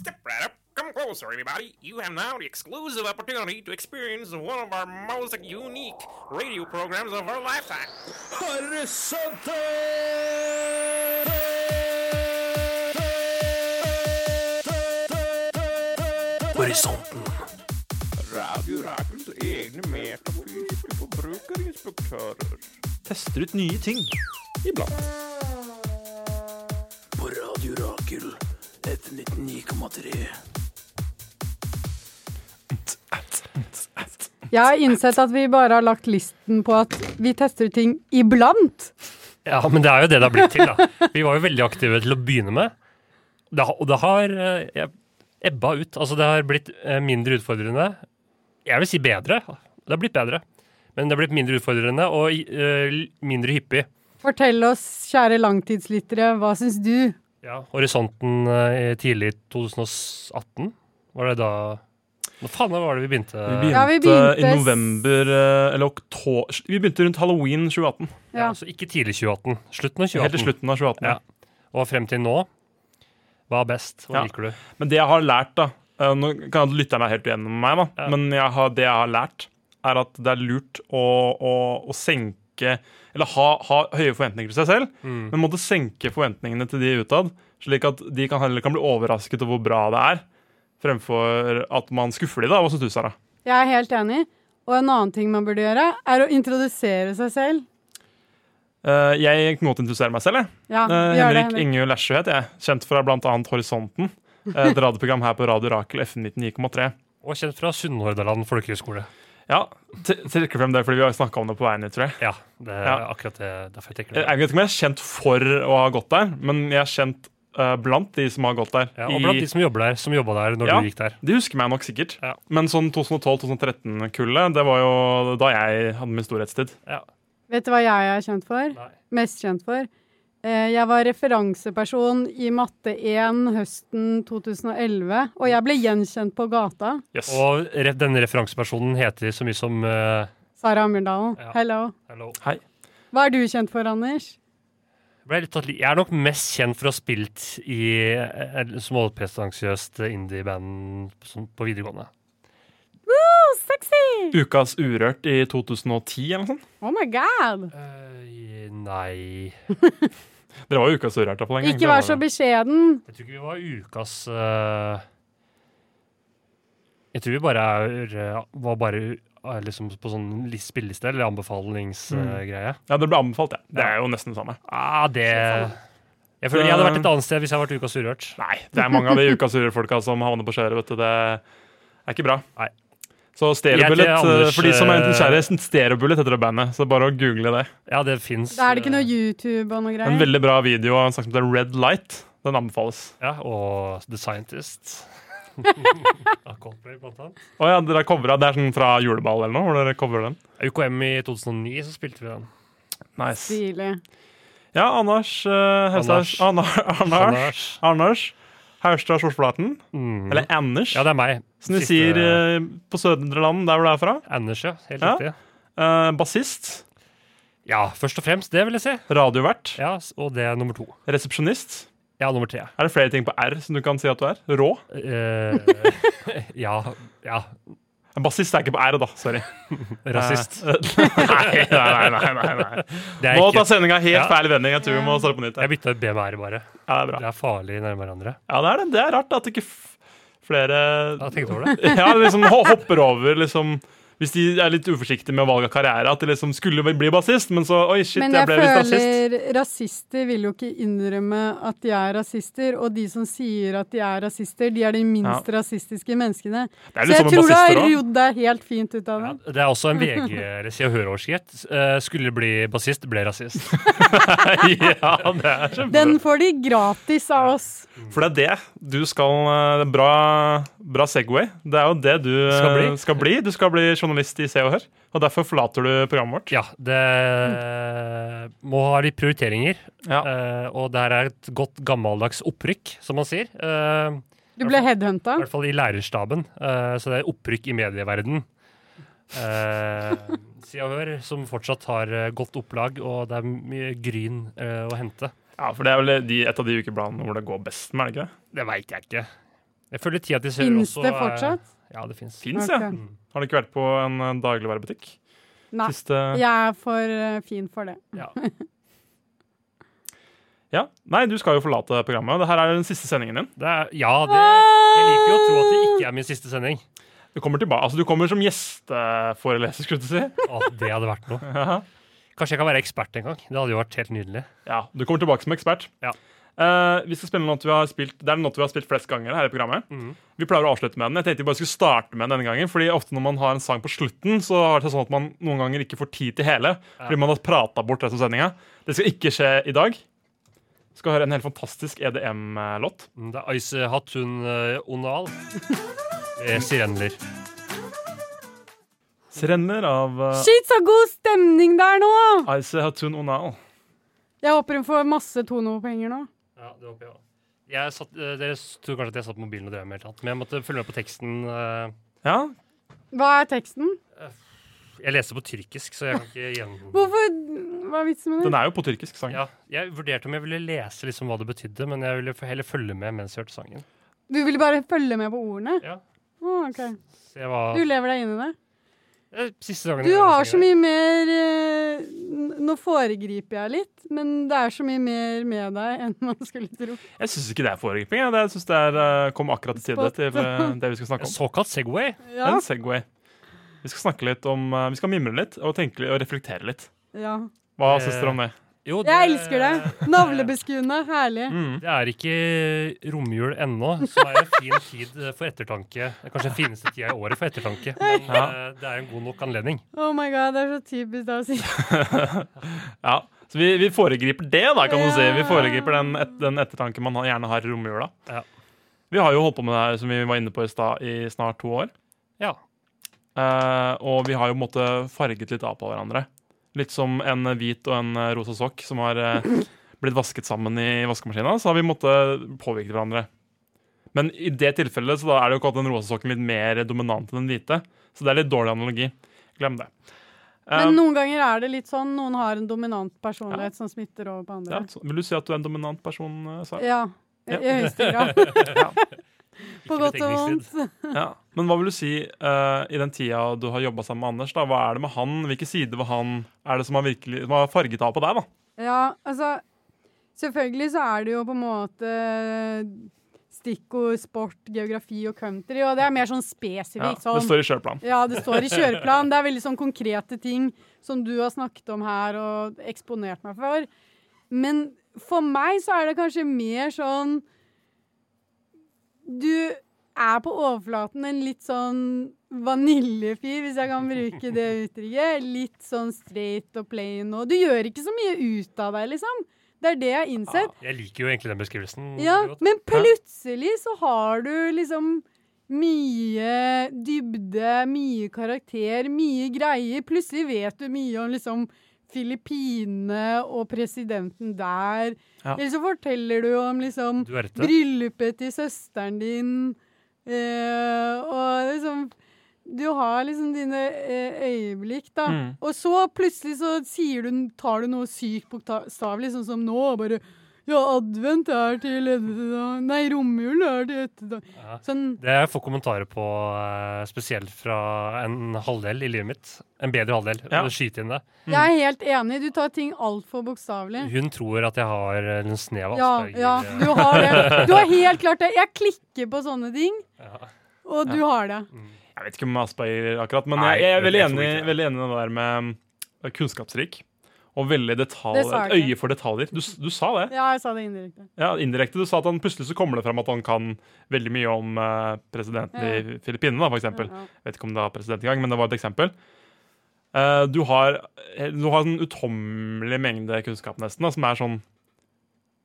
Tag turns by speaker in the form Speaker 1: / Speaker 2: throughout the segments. Speaker 1: Step right up. Come closer, everybody. You have now the exclusive opportunity to experience one of our most unique radio programs of our lifetime.
Speaker 2: Horisonte! Horisonten. Radio Rakels egne metafysiske forbrukerinspektører.
Speaker 3: tester ut nye ting.
Speaker 2: Iblant.
Speaker 4: på Radio Rakel etter 99,3.
Speaker 5: Jeg har innsett at vi bare har lagt listen på at vi tester ut ting iblant.
Speaker 3: Ja, men det er jo det det har blitt til, da. Vi var jo veldig aktive til å begynne med. Det, har- og det har eh, jeg- ebba ut. Altså, det har blitt eh, mindre utfordrende. Jeg vil si bedre. Det har blitt bedre. Men det har blitt mindre utfordrende og eh, mindre hyppig.
Speaker 5: Fortell oss, kjære langtidslyttere, hva syns du?
Speaker 3: Ja, Horisonten eh, i tidlig 2018, var det da Hva faen da var det vi begynte?
Speaker 6: Vi begynte,
Speaker 5: Ja, vi begynte
Speaker 6: i november eh, eller oktober Vi begynte rundt halloween 2018.
Speaker 3: Ja, altså ikke tidlig 2018. Slutten av 2018.
Speaker 6: Helt til slutten av 2018.
Speaker 3: Ja. Og frem til nå. Hva er best? Hva
Speaker 6: Ja.
Speaker 3: liker du?
Speaker 6: Men det jeg har lært, da eh, Nå kan jeg lytterne er helt uenig med meg, da,
Speaker 3: Ja.
Speaker 6: men jeg har, det jeg har lært, er at det er lurt å, å, å senke Eller ha, ha høye forventninger til seg selv,
Speaker 5: Mm.
Speaker 6: men måtte senke forventningene til de utad, slik at de kan, heller kan bli overrasket over hvor bra det er, fremfor at man skuffer de da. Hva syns du, Sara?
Speaker 5: Jeg er helt enig. Og en annen ting man burde gjøre, er å introdusere seg selv.
Speaker 6: Eh, jeg kan godt introdusere meg selv. jeg.
Speaker 5: Ja,
Speaker 6: Eh,
Speaker 5: vi gjør det,
Speaker 6: Henrik
Speaker 5: Henrik.
Speaker 6: Inge Lesjø heter jeg. Kjent fra bl.a. Horisonten. eh, Et radioprogram her på Radio Rakel FN 99,3.
Speaker 3: Og kjent fra Sunnhordaland folkehøgskole.
Speaker 6: Ja, t- trekker frem det fordi vi har snakka om det på veien hit, tror jeg.
Speaker 3: Ja, det er
Speaker 6: Ja.
Speaker 3: akkurat det. Derfor jeg
Speaker 6: Jeg
Speaker 3: tenker det.
Speaker 6: jeg vet ikke om jeg er kjent for å ha gått der, men jeg er kjent eh, blant de som har gått der.
Speaker 3: Ja, og blant
Speaker 6: i-
Speaker 3: de som jobba der, som jobba der når
Speaker 6: Ja.
Speaker 3: du gikk der.
Speaker 6: de husker meg nok sikkert.
Speaker 3: Ja.
Speaker 6: Men sånn 2012-2013-kullet, det var jo da jeg hadde min storhetstid.
Speaker 5: Vet du hva jeg er kjent for?
Speaker 3: Nei.
Speaker 5: Mest kjent for? Eh, Jeg var referanseperson i matte 1 høsten 2011, og jeg ble gjenkjent på gata.
Speaker 6: Yes.
Speaker 3: Og re denne referansepersonen heter så mye som eh,
Speaker 5: Sara Hammerdalen,
Speaker 3: Ja.
Speaker 5: hello.
Speaker 3: Hello.
Speaker 6: Hei.
Speaker 5: Hva er du kjent for, Anders?
Speaker 3: Ble litt tatt li- Jeg er nok mest kjent for å ha spilt i eh, et småpretensiøst indie-band som- på videregående.
Speaker 5: Woo, sexy!
Speaker 6: Ukas Urørt i 2010 eller noe sånt.
Speaker 5: Oh my god!
Speaker 3: Eh, nei
Speaker 6: Dere var jo Ukas Urørt da på den gangen.
Speaker 5: Ikke vær så beskjeden.
Speaker 3: Jeg tror ikke vi var ukas eh, Jeg tror vi bare er, eh, var bare eh, liksom på sånn lis- spilleliste eller anbefalingsgreie.
Speaker 6: Ja, det ble anbefalt, ja. Det er jo nesten det samme.
Speaker 3: Ah, det Jeg føler jeg hadde
Speaker 6: Um,
Speaker 3: vært et annet sted hvis jeg hadde vært ukas urørt.
Speaker 6: Nei, det er mange av de ukas folka som havner på skjæret, vet du. Det er ikke bra.
Speaker 3: Nei.
Speaker 6: Så
Speaker 3: Jeg heter
Speaker 6: Stereobullet, eh,
Speaker 3: Anders,
Speaker 6: for de som er nysgjerrige,
Speaker 3: eh,
Speaker 6: Stereobullet heter det bandet. Så bare å google det.
Speaker 3: Ja, det fins.
Speaker 5: Da er det ikke noe YouTube og noe
Speaker 6: Eh, En
Speaker 5: greier.
Speaker 6: veldig bra video av en sak som heter Red Light. Den anbefales.
Speaker 3: Ja, og The Scientist. Av Coldplay, blant annet.
Speaker 6: Å ja, dere har covra. Det er sånn fra juleball eller noe? hvor dere coverer den.
Speaker 3: UKM i 2009, så spilte vi den.
Speaker 6: Nice.
Speaker 5: Stilig.
Speaker 6: Ja, Anders eh, Haustad-
Speaker 3: Anders.
Speaker 6: Anna- Anders.
Speaker 3: Anders.
Speaker 6: Anders. Haustad Skjorteflaten.
Speaker 3: Mm.
Speaker 6: Eller Anders,
Speaker 3: Ja, det er meg.
Speaker 6: som de
Speaker 3: Siste-
Speaker 6: sier eh, på Søndre Land, der hvor det er fra.
Speaker 3: Anders, ja. Helt
Speaker 6: Ja.
Speaker 3: riktig.
Speaker 6: Eh, bassist.
Speaker 3: Ja, først og fremst, det vil jeg si.
Speaker 6: Radiovert.
Speaker 3: Ja, s- Og det er nummer to.
Speaker 6: Resepsjonist.
Speaker 3: Ja, nummer tre.
Speaker 6: Er det flere ting på R som du kan si at du er? Rå?
Speaker 3: Eh, ja, ja.
Speaker 6: En Bassist er ikke på R, da. Sorry.
Speaker 3: Rasist.
Speaker 6: Eh, nei, nei, nei. nei, nei.
Speaker 3: Det er
Speaker 6: Nå tar
Speaker 3: ikke,
Speaker 6: sendinga helt
Speaker 3: Ja.
Speaker 6: feil vending. Jeg tror vi må starte på nytt.
Speaker 3: jeg
Speaker 6: her.
Speaker 3: bytta B med R, bare.
Speaker 6: Ja, det er bra.
Speaker 3: Det er farlig nærme hverandre.
Speaker 6: Ja, det er det. Det er rart at ikke f- flere
Speaker 3: Jeg har tenkt over det.
Speaker 6: Ja, liksom ho- hopper over, liksom Hvis de er litt uforsiktige med valg av karriere, at de liksom skulle bli bassist, men så Oi, shit,
Speaker 5: Men
Speaker 6: jeg
Speaker 5: jeg
Speaker 6: ble visst rasist.
Speaker 5: føler rasister vil jo ikke innrømme at de er rasister, og de som sier at de er rasister, de er de minst rasistiske menneskene.
Speaker 6: Det er litt
Speaker 5: Så jeg
Speaker 6: som med
Speaker 5: tror du har
Speaker 6: bassister òg.
Speaker 5: rodd deg helt fint ut av
Speaker 3: Ja,
Speaker 5: det.
Speaker 3: det er også en VG eller Se og Hør-overskrift. Eh, Skulle bli bassist, ble rasist.
Speaker 6: ja, det er
Speaker 5: Den får de gratis av oss.
Speaker 6: For det er det du skal eh, Bra, bra Segway. Det er jo det du eh,
Speaker 3: Skal bli.
Speaker 6: skal bli. Du skal bli journalist i Se og Hør, og derfor forlater du programmet vårt.
Speaker 3: Ja, det må ha litt prioriteringer.
Speaker 6: Ja.
Speaker 3: Eh, og det her er et godt gammeldags opprykk, som man sier. Eh,
Speaker 5: Du ble headhunta.
Speaker 3: I hvert fall i lærerstaben. Eh, så det er opprykk i medieverden. Eh, Se og Hør, som fortsatt har eh, godt opplag, og det er mye gryn eh, å hente.
Speaker 6: ja, for det er vel de, et av de ukebladene hvor det går best med, er det ikke det?
Speaker 3: Det veit jeg ikke. Jeg føler tida til sør
Speaker 5: Fins
Speaker 3: også
Speaker 5: det
Speaker 3: er-
Speaker 5: fortsatt?
Speaker 3: Ja, det fins.
Speaker 6: Fins,
Speaker 5: Ok. Ah,
Speaker 6: ja. Har du ikke vært på en eh, dagligvarebutikk?
Speaker 5: Nei,
Speaker 6: Siste
Speaker 5: jeg er for eh, fin for det.
Speaker 3: Ja.
Speaker 6: Ja. Nei, du skal jo forlate programmet. Dette er den siste sendingen din.
Speaker 3: Det er, ja, det Jeg liker jo å tro at det ikke er min siste sending.
Speaker 6: Du kommer tilbake, altså du kommer som gjesteforeleser, skulle du si.
Speaker 3: Å, det hadde vært noe.
Speaker 6: Ja.
Speaker 3: Kanskje jeg kan være ekspert en gang. Det hadde jo vært helt nydelig.
Speaker 6: ja, Du kommer tilbake som ekspert.
Speaker 3: Ja.
Speaker 6: Eh, vi skal spille noe vi har spilt, Det er noe vi har spilt flest ganger her i programmet. Vi pleier å avslutte med den. Jeg tenkte vi bare skulle starte med den denne gangen, fordi ofte når man har en sang på slutten, så er det sånn at man noen ganger ikke får tid til hele, fordi man har prata bort resten av sendinga. Det skal ikke skje i dag. Vi skal høre en helt fantastisk E EDM-låt.
Speaker 3: Mm, Det er Ice Hatun eh, Onal. Eh, Sirenler.
Speaker 6: Sirenner av uh,
Speaker 5: Shit, så god stemning der nå!
Speaker 6: Ice Hatun Onal.
Speaker 5: Jeg håper hun får masse tonopenger nå.
Speaker 3: Ja, det håper jeg jeg satt, eh, dere tror kanskje at jeg satt på mobilen og drev med helt annet, men jeg måtte følge med på teksten. eh.
Speaker 6: Ja,
Speaker 5: Hva er teksten?
Speaker 3: Jeg leser på tyrkisk, så jeg kan ikke gjennom
Speaker 5: Hvorfor Hva er vitsen med
Speaker 6: den
Speaker 5: det?
Speaker 6: er jo på tyrkisk sang.
Speaker 3: ja, Jeg vurderte om jeg ville lese liksom hva det betydde, men jeg ville f- heller følge med mens jeg hørte sangen.
Speaker 5: Du ville bare følge med på ordene?
Speaker 3: Ja.
Speaker 5: Å, ok.
Speaker 3: Så jeg var,
Speaker 5: Du lever deg inn i det?
Speaker 3: Eh, siste gangen
Speaker 5: Du
Speaker 3: jeg hørte
Speaker 5: har så
Speaker 3: sangen.
Speaker 5: mye mer eh, n- Nå foregriper jeg litt, men det er så mye mer med deg enn man skulle tro.
Speaker 6: Jeg syns ikke det er foregriping. Jeg, Det- jeg synes det er, eh, kom akkurat i tide
Speaker 5: Spot
Speaker 6: til eh, det vi skal snakke om.
Speaker 3: Såkalt Segway.
Speaker 5: Ja.
Speaker 6: En Segway. Vi skal snakke litt om eh, Vi skal mimre litt og tenke litt og reflektere litt.
Speaker 5: ja.
Speaker 6: Hva
Speaker 3: Eh,
Speaker 6: syns dere om det?
Speaker 3: Jo,
Speaker 5: Jeg elsker det. Mm. Navlebeskuende. Herlig.
Speaker 3: Det er ikke romjul ennå, så det er en fin tid eh, for ettertanke. Det er Kanskje den fineste tida i året for ettertanke. Men
Speaker 6: Ja.
Speaker 3: eh, det er en god nok anledning.
Speaker 5: Oh my god, det er så typisk deg å si.
Speaker 6: Ja, så vi, vi foregriper det, da, kan du si. Vi
Speaker 5: Ja.
Speaker 6: foregriper den, et, den ettertanken man har- gjerne har i romjula.
Speaker 3: Ja.
Speaker 6: Vi har jo holdt på med det her som vi var inne på i stad, i snart to år.
Speaker 3: Ja.
Speaker 6: Eh, og vi har jo på en måte farget litt av på hverandre. Litt som en hvit og en eh, rosa sokk som har eh, blitt vasket sammen i vaskemaskina. Så har vi måttet påvirke hverandre. Men i det tilfellet så da er det jo ikke at den rosa sokken litt mer dominant enn den hvite. Så det er litt dårlig analogi. Glem det. Eh,
Speaker 5: Men noen ganger er det litt sånn. Noen har en dominant personlighet som smitter over på
Speaker 6: ja,
Speaker 5: andre.
Speaker 6: så, vil du si at du er en dominant person, eh, Sara?
Speaker 5: Ja. I i høyeste grad. På godt og
Speaker 3: betegningstid.
Speaker 5: vondt.
Speaker 6: Ja. Men hva vil du si eh, i den tida du har jobba sammen med Anders? da? Hva er det med han? Hvilke sider ved han er det som har, virkelig, som har farget av på deg? da?
Speaker 5: Ja, altså Selvfølgelig så er det jo på en måte stikkord sport, geografi og country, og det er mer sånn
Speaker 6: Ja,
Speaker 5: spesifikt.
Speaker 6: det
Speaker 5: sånn.
Speaker 6: står i kjøreplan.
Speaker 5: Ja, det står i kjøreplan. Det er veldig sånn konkrete ting som du har snakket om her og eksponert meg for. Men for meg så er det kanskje mer sånn Du er på overflaten en litt sånn vaniljefyr, hvis jeg kan bruke det uttrykket. Litt sånn straight og plain og Du gjør ikke så mye ut av deg, liksom. Det er det jeg har innsett.
Speaker 3: Jeg liker jo egentlig den beskrivelsen.
Speaker 5: Ja,
Speaker 3: godt.
Speaker 5: men plutselig så har du liksom mye dybde, mye karakter, mye greier. Plutselig vet du mye om liksom Filippinene og presidenten der.
Speaker 6: Ja.
Speaker 5: Eller så forteller du om liksom
Speaker 3: Duterte.
Speaker 5: bryllupet til søsteren din. eh, og liksom Du har liksom dine eh, øyeblikk, da.
Speaker 6: Mm.
Speaker 5: Og så plutselig så sier du, tar du noe sykt bokstavelig, sånn som nå. og Bare Ja, advent er til etterdag Nei, romjul er til etterdag
Speaker 3: Ja.
Speaker 5: Sånn.
Speaker 3: Det jeg får kommentarer på, eh, spesielt fra en halvdel i livet mitt. En bedre halvdel.
Speaker 6: Ja.
Speaker 3: Skyte inn det.
Speaker 5: Jeg er helt enig. Du tar ting altfor bokstavelig.
Speaker 3: Hun tror at jeg har en snev av
Speaker 5: Ja,
Speaker 3: asperger. eh,
Speaker 5: ja, du har det. Du har helt klart det. Jeg klikker på sånne ting, og du har det.
Speaker 6: Jeg vet ikke om Asperger akkurat, men
Speaker 3: Nei,
Speaker 6: jeg, jeg er
Speaker 3: det-
Speaker 6: veldig
Speaker 3: jeg tror
Speaker 6: enig,
Speaker 3: ikke det.
Speaker 6: veldig enig i det der med mm, kunnskapsrik. Og veldig detalj,
Speaker 5: Det sa jeg
Speaker 6: et
Speaker 5: ikke.
Speaker 6: øye for detaljer. Du, s- du sa det.
Speaker 5: Ja, jeg sa det indirekte.
Speaker 6: Ja, Indirekte. Du sa at han plutselig så kommer det fram at han kan veldig mye om eh, presidenten i Filippinene, da, for eksempel.
Speaker 5: Ja, ja.
Speaker 6: Jeg vet ikke om det var president engang, men det var et eksempel. Eh, du, har, du har en utommelig mengde kunnskap, nesten, da, som er sånn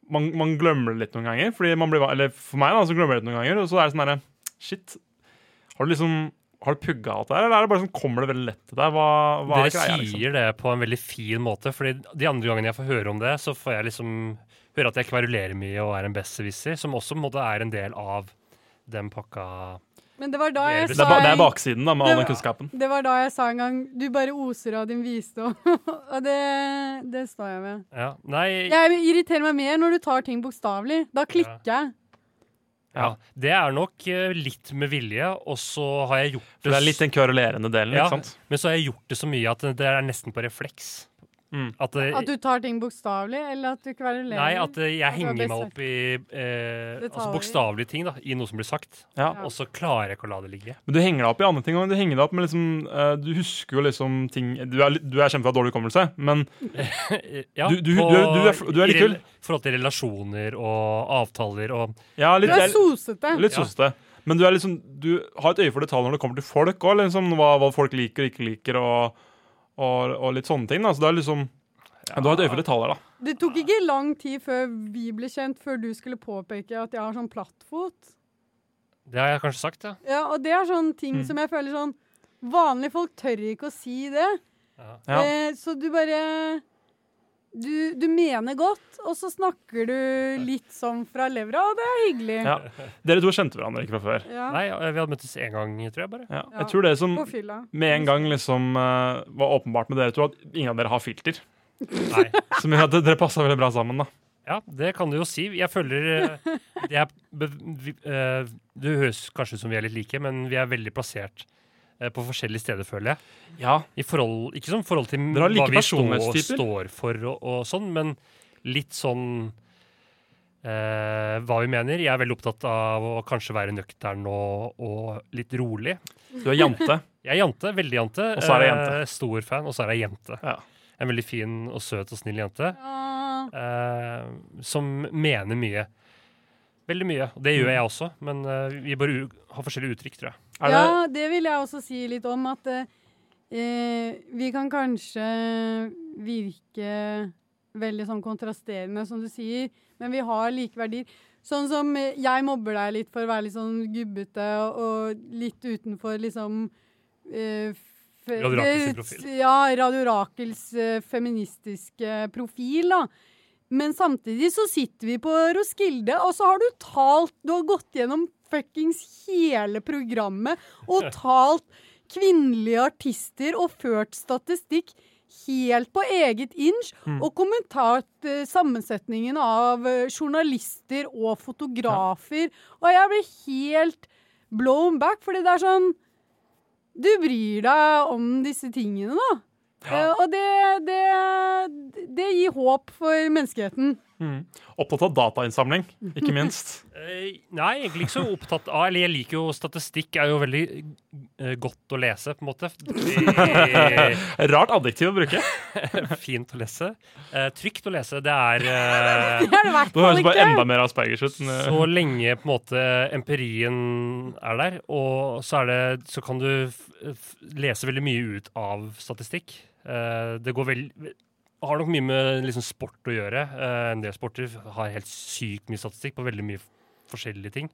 Speaker 6: man, man glemmer det litt noen ganger. Fordi man blir, va- eller for meg da, så glemmer jeg det noen ganger. Og så er det sånn herre Shit. Har du liksom Har du pugga alt det her, eller er det bare sånn, kommer det veldig lett til deg? Hva, hva
Speaker 3: Dere
Speaker 6: er greia, liksom?
Speaker 3: sier det på en veldig fin måte, Fordi de andre gangene jeg får høre om det, så får jeg liksom høre at jeg kverulerer mye og er en besserwisser, som også på en måte er en del av den pakka
Speaker 5: Men det var da jeg
Speaker 3: Det
Speaker 6: Det
Speaker 5: sa
Speaker 6: er, ba- det er
Speaker 5: en-
Speaker 6: baksiden da, med
Speaker 5: Det-
Speaker 6: all den kunnskapen.
Speaker 5: Det var da jeg sa en gang 'du bare oser av din visdom', og det, det står jeg ved.
Speaker 3: ja. Nei,
Speaker 5: Jeg irriterer meg mer når du tar ting bokstavelig. Da klikker jeg.
Speaker 3: Ja. Det er nok eh, litt med vilje, og så har jeg gjort
Speaker 6: For det er litt den kverulerende delen,
Speaker 3: ja,
Speaker 6: ikke sant?
Speaker 3: Men så har jeg gjort det så mye at det er nesten på refleks.
Speaker 6: Mm.
Speaker 3: At, det,
Speaker 5: At du tar ting bokstavelig, eller at du kverulerer?
Speaker 3: nei, at eh,
Speaker 5: At
Speaker 3: jeg
Speaker 5: du har
Speaker 3: henger meg
Speaker 5: bestemt.
Speaker 3: opp i eh, altså
Speaker 5: Detaljer.
Speaker 3: bokstavelige ting da, i noe som blir sagt,
Speaker 6: Ja.
Speaker 3: og så klarer jeg ikke å la det ligge.
Speaker 6: Men du henger deg opp i andre ting òg. Du henger deg opp med liksom eh, Du husker jo liksom ting Du er, litt- du er kjempefra dårlig hukommelse, men
Speaker 3: Eh, Ja,
Speaker 6: Du- du-
Speaker 3: på-
Speaker 6: du er- du er fl- du er litt
Speaker 3: i rel-
Speaker 6: kul.
Speaker 3: forhold til relasjoner og avtaler og
Speaker 6: ja,
Speaker 5: Du
Speaker 6: litt,
Speaker 5: er
Speaker 6: jeg-
Speaker 5: sosete.
Speaker 6: litt
Speaker 3: Ja.
Speaker 6: sosete. Men du, er liksom, du har et øye for detaljer når det kommer til folk òg. Liksom, hva, hva folk liker og ikke liker, og, og, og litt sånne ting. Da. Så det er liksom ja, Du har et øye for detaljer, da.
Speaker 5: Det tok ikke lang tid før vi ble kjent, før du skulle påpeke at jeg har sånn plattfot.
Speaker 3: Det har jeg kanskje sagt, ja.
Speaker 5: Ja, og det er sånn
Speaker 3: Mm.
Speaker 5: ting som jeg føler sånn Vanlige folk tør ikke å si det.
Speaker 6: Ja.
Speaker 5: Eh, så du bare du, du mener godt, og så snakker du litt sånn fra levra, og det er hyggelig.
Speaker 6: Ja. Dere to kjente hverandre ikke fra før.
Speaker 5: Ja,
Speaker 3: Nei, eh, vi hadde møttes én gang, tror jeg bare.
Speaker 6: Ja.
Speaker 5: Ja.
Speaker 6: Jeg tror det som
Speaker 5: På fylla.
Speaker 6: med en gang liksom eh, var åpenbart med dere to, at ingen av dere har filter.
Speaker 3: Nei.
Speaker 6: Som gjør at dere passa veldig bra sammen, da.
Speaker 3: Ja, det kan du jo si. Jeg føler eh, det er, be- vi- eh, Det høres kanskje ut som vi er litt like, men vi er veldig plassert eh, på forskjellige steder, føler jeg.
Speaker 6: Ja,
Speaker 3: I forhold, ikke som forhold til
Speaker 6: Dere har like
Speaker 3: hva vi står,
Speaker 6: personlighetstyper.
Speaker 3: står for og, og sånn, men litt sånn eh, hva vi mener. Jeg er veldig opptatt av å kanskje være nøktern og, og litt rolig.
Speaker 6: Du er jante.
Speaker 3: Jeg er jante, veldig jante.
Speaker 6: Og så er jeg
Speaker 3: Eh, stor fan, og så er jeg jente.
Speaker 6: Ja.
Speaker 3: En veldig fin og søt og snill jente
Speaker 5: Ja.
Speaker 3: eh, som mener mye. Veldig mye. og Det gjør jeg også, men eh, vi bare u- har forskjellige uttrykk, tror jeg.
Speaker 6: Er det,
Speaker 5: Ja, det vil jeg også si litt om, at eh, eh, vi kan kanskje virke veldig sånn kontrasterende, som du sier, men vi har like verdier. Sånn som eh, jeg mobber deg litt for å være litt sånn gubbete og, og litt utenfor liksom eh, fe-
Speaker 3: Radio Rakels sin profil.
Speaker 5: Ja, Radio Rakels eh, feministiske profil, da. Men samtidig så sitter vi på Roskilde, og så har du talt Du har gått gjennom fuckings hele programmet og talt kvinnelige artister og ført statistikk helt på eget inch, og kommentert eh, sammensetningen av eh, journalister og fotografer. Og jeg blir helt blown back, fordi det er sånn Du bryr deg om disse tingene, da. Eh, og det, det, det gir håp for menneskeheten.
Speaker 6: Opptatt av datainnsamling, ikke minst.
Speaker 3: Eh, nei, egentlig ikke så opptatt av Eller jeg liker jo statistikk, er jo veldig eh, godt å lese, på en måte. Eh,
Speaker 6: Rart adjektiv å bruke.
Speaker 3: Fint å lese. Eh, trygt å lese. Det er eh,
Speaker 5: Det er det i hvert
Speaker 6: Nå høres
Speaker 5: fall
Speaker 6: det bare
Speaker 5: ikke.
Speaker 6: enda mer aspergers ut. enn, eh,
Speaker 3: så lenge på en måte empirien er der, og så, er det, så kan du f f lese veldig mye ut av statistikk. Eh, det går vel, har nok mye med liksom, sport å gjøre. Eh, en del sporter har helt sykt mye statistikk på veldig mye f- forskjellige ting.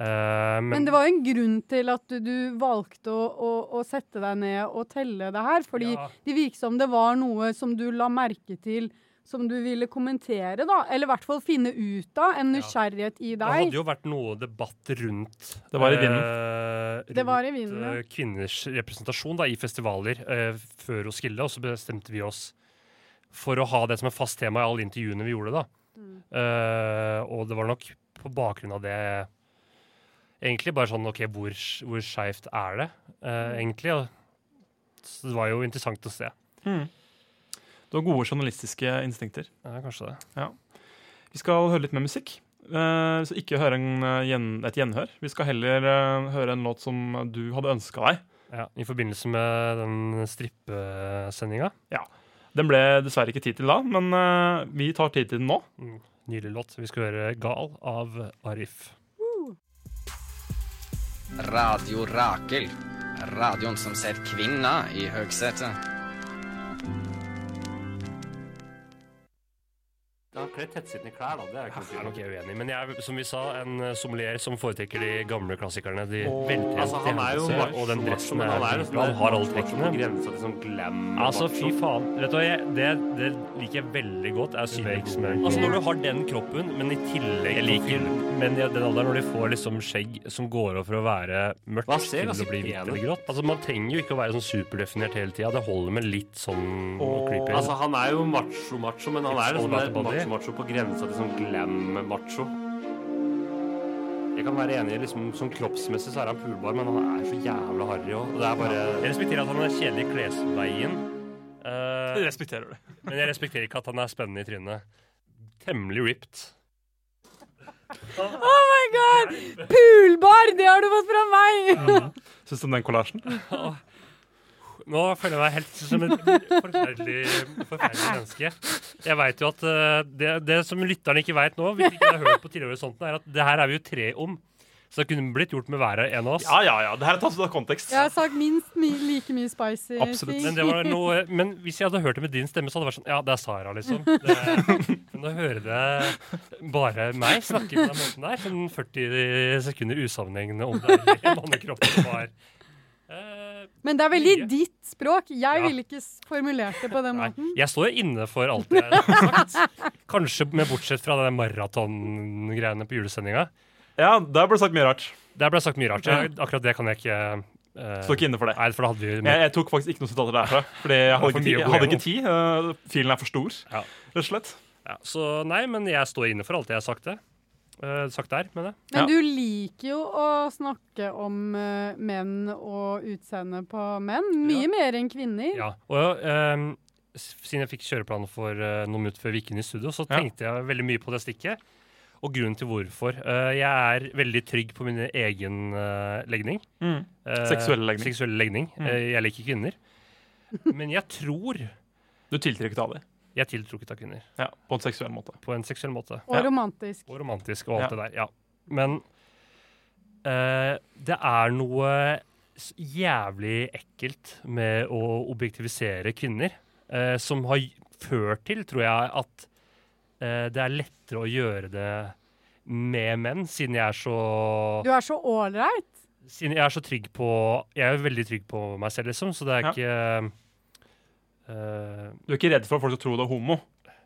Speaker 3: Eh, men,
Speaker 5: Men det var jo en grunn til at du, du valgte å, å, å sette deg ned og telle det her. Fordi
Speaker 3: Ja.
Speaker 5: det virket som det var noe som du la merke til, som du ville kommentere, da. Eller i hvert fall finne ut av. En nysgjerrighet i
Speaker 3: det hadde
Speaker 5: deg.
Speaker 3: jo vært noe debatt rundt
Speaker 6: Det var i
Speaker 3: eh, rundt
Speaker 5: Det var i vinden, ja.
Speaker 3: eh, kvinners representasjon da, i festivaler eh, før Roskilde, og så bestemte vi oss for å ha det som et fast tema i alle intervjuene vi gjorde. da.
Speaker 5: Mm.
Speaker 3: Eh, og det var nok på bakgrunn av det egentlig bare sånn OK, hvor, sk- hvor skeivt er det
Speaker 5: Mm.
Speaker 3: eh, egentlig? Og, så det var jo interessant å se.
Speaker 6: Hmm. Du har gode journalistiske instinkter.
Speaker 3: Ja, kanskje det.
Speaker 6: Vi skal høre litt mer musikk. Eh, så ikke høre en, eh, gjen, et gjenhør. Vi skal heller eh, høre en låt som du hadde ønska deg.
Speaker 3: Ja, I forbindelse med den strippesendinga.
Speaker 6: Den ble dessverre ikke tid til da, men eh, vi tar tid til den nå.
Speaker 3: Nylig låt. Vi skal høre 'Gal' av Arif.
Speaker 7: Radio Rakel. Radioen som ser kvinna i høgsetet.
Speaker 3: Ja, kle tettsittende klær, da. Det er ikke noe jeg er uenig i. Men jeg er, som vi sa, en eh, sommelier som foretrekker de gamle klassikerne. De veltrente hendelsene, og den dressen er dritbra. Han har alle trekkene. Altså, fy faen. Vet du hva, jeg, det, det liker jeg veldig godt. er sykehugsmøring. Altså, når du har den kroppen, men i tillegg Jeg liker menn i den alderen når de får liksom skjegg som går over for å være mørkt til å bli hvitt eller grått. Altså, man trenger jo ikke å være sånn superdefinert hele tida. Det holder med litt sånn creepy.
Speaker 8: Altså, han er jo macho-macho, men han
Speaker 3: It's
Speaker 8: er
Speaker 3: all
Speaker 8: sånn
Speaker 3: about the body.
Speaker 8: macho-macho på grensa til sånn glam-macho.
Speaker 3: Jeg kan være enig i liksom, sånn kroppsmessig så er han pulbar, men han er så jævla harry òg. Det er bare Jeg respekterer at han er kjedelig i klesveien, eh,
Speaker 6: Jeg respekterer det.
Speaker 3: men jeg respekterer ikke at han er spennende i trynet. Temmelig ripped.
Speaker 5: Oh my god! Pulbar! Det har du fått fra meg!
Speaker 6: Syns du om den kollasjen?
Speaker 3: Nå føler jeg meg helt som et forferdelig, forferdelig menneske. Jeg veit jo at eh, det, det som lytterne ikke veit nå, hvis ikke de har hørt på tidligere horisonten, er at det her er vi jo tre om. Så det kunne blitt gjort med hver og en av oss.
Speaker 6: Ja, ja, ja. Det her er tatt ut av kontekst.
Speaker 5: Jeg har sagt minst mi like mye spicy
Speaker 6: Absolutt.
Speaker 5: ting.
Speaker 3: Men, det var noe, men hvis jeg hadde hørt det med din stemme, så hadde det vært sånn Ja, det er Sara, liksom. Det, men da hører det bare meg snakke på den måten der. Sånn 40 sekunder usammenhengende om det er mannekroppen som var Eh,
Speaker 5: Men det er veldig
Speaker 3: Mye.
Speaker 5: ditt språk. Jeg
Speaker 3: Ja.
Speaker 5: ville ikke s- formulert det på den
Speaker 3: Nei,
Speaker 5: måten.
Speaker 3: jeg står inne for alt jeg har sagt. Kanskje med bortsett fra den maratongreiene på julesendinga.
Speaker 6: Ja, Der ble det sagt mye rart.
Speaker 3: Der ble det sagt mye rart. Jeg, akkurat det kan jeg ikke eh,
Speaker 6: Står ikke inne for det.
Speaker 3: Nei, for da hadde vi
Speaker 6: Jeg, jeg tok faktisk ikke noen sitater derfra. Fordi jeg
Speaker 3: var
Speaker 6: hadde
Speaker 3: for
Speaker 6: ikke tid.
Speaker 3: mye å gå
Speaker 6: Jeg hadde ikke
Speaker 3: gjennom.
Speaker 6: tid. øh, Filen er for stor,
Speaker 3: Ja.
Speaker 6: rett og slett.
Speaker 3: ja, Så nei, men jeg står inne for alt jeg har sagt, det. Eh, sagt der, mener jeg.
Speaker 5: Men
Speaker 6: Ja.
Speaker 5: du liker jo å snakke om eh, menn og utseendet på menn. Mye mer enn kvinner.
Speaker 3: Ja, og ehm, s- siden jeg fikk kjøreplanen for eh, noen minutter før vi gikk inn i studio, så
Speaker 6: Ja.
Speaker 3: tenkte jeg veldig mye på det stikket. Og grunnen til hvorfor. Eh, jeg er veldig trygg på min egen eh, legning.
Speaker 6: Mm.
Speaker 3: Eh,
Speaker 6: Seksuelle legning. Mm.
Speaker 3: seksuelle legning. Eh, jeg liker kvinner. Men jeg tror
Speaker 6: Du tiltrekkes av det.
Speaker 3: jeg er tiltrukket av kvinner.
Speaker 6: Ja, på en seksuell måte.
Speaker 3: På en seksuell måte.
Speaker 5: Og
Speaker 6: Ja.
Speaker 5: romantisk.
Speaker 3: Og romantisk og alt
Speaker 6: Ja.
Speaker 3: det der. Ja. Men eh, det er noe s- jævlig ekkelt med å objektivisere kvinner, eh, som har gj- ført til, tror jeg, at eh, det er lettere å gjøre det med menn, siden jeg er så
Speaker 5: Du er så ålreit.
Speaker 3: Siden jeg er så trygg på Jeg er jo veldig trygg på meg selv, liksom, så det er
Speaker 6: Ja.
Speaker 3: ikke eh,
Speaker 6: Du er ikke redd for at folk skal tro du er homo?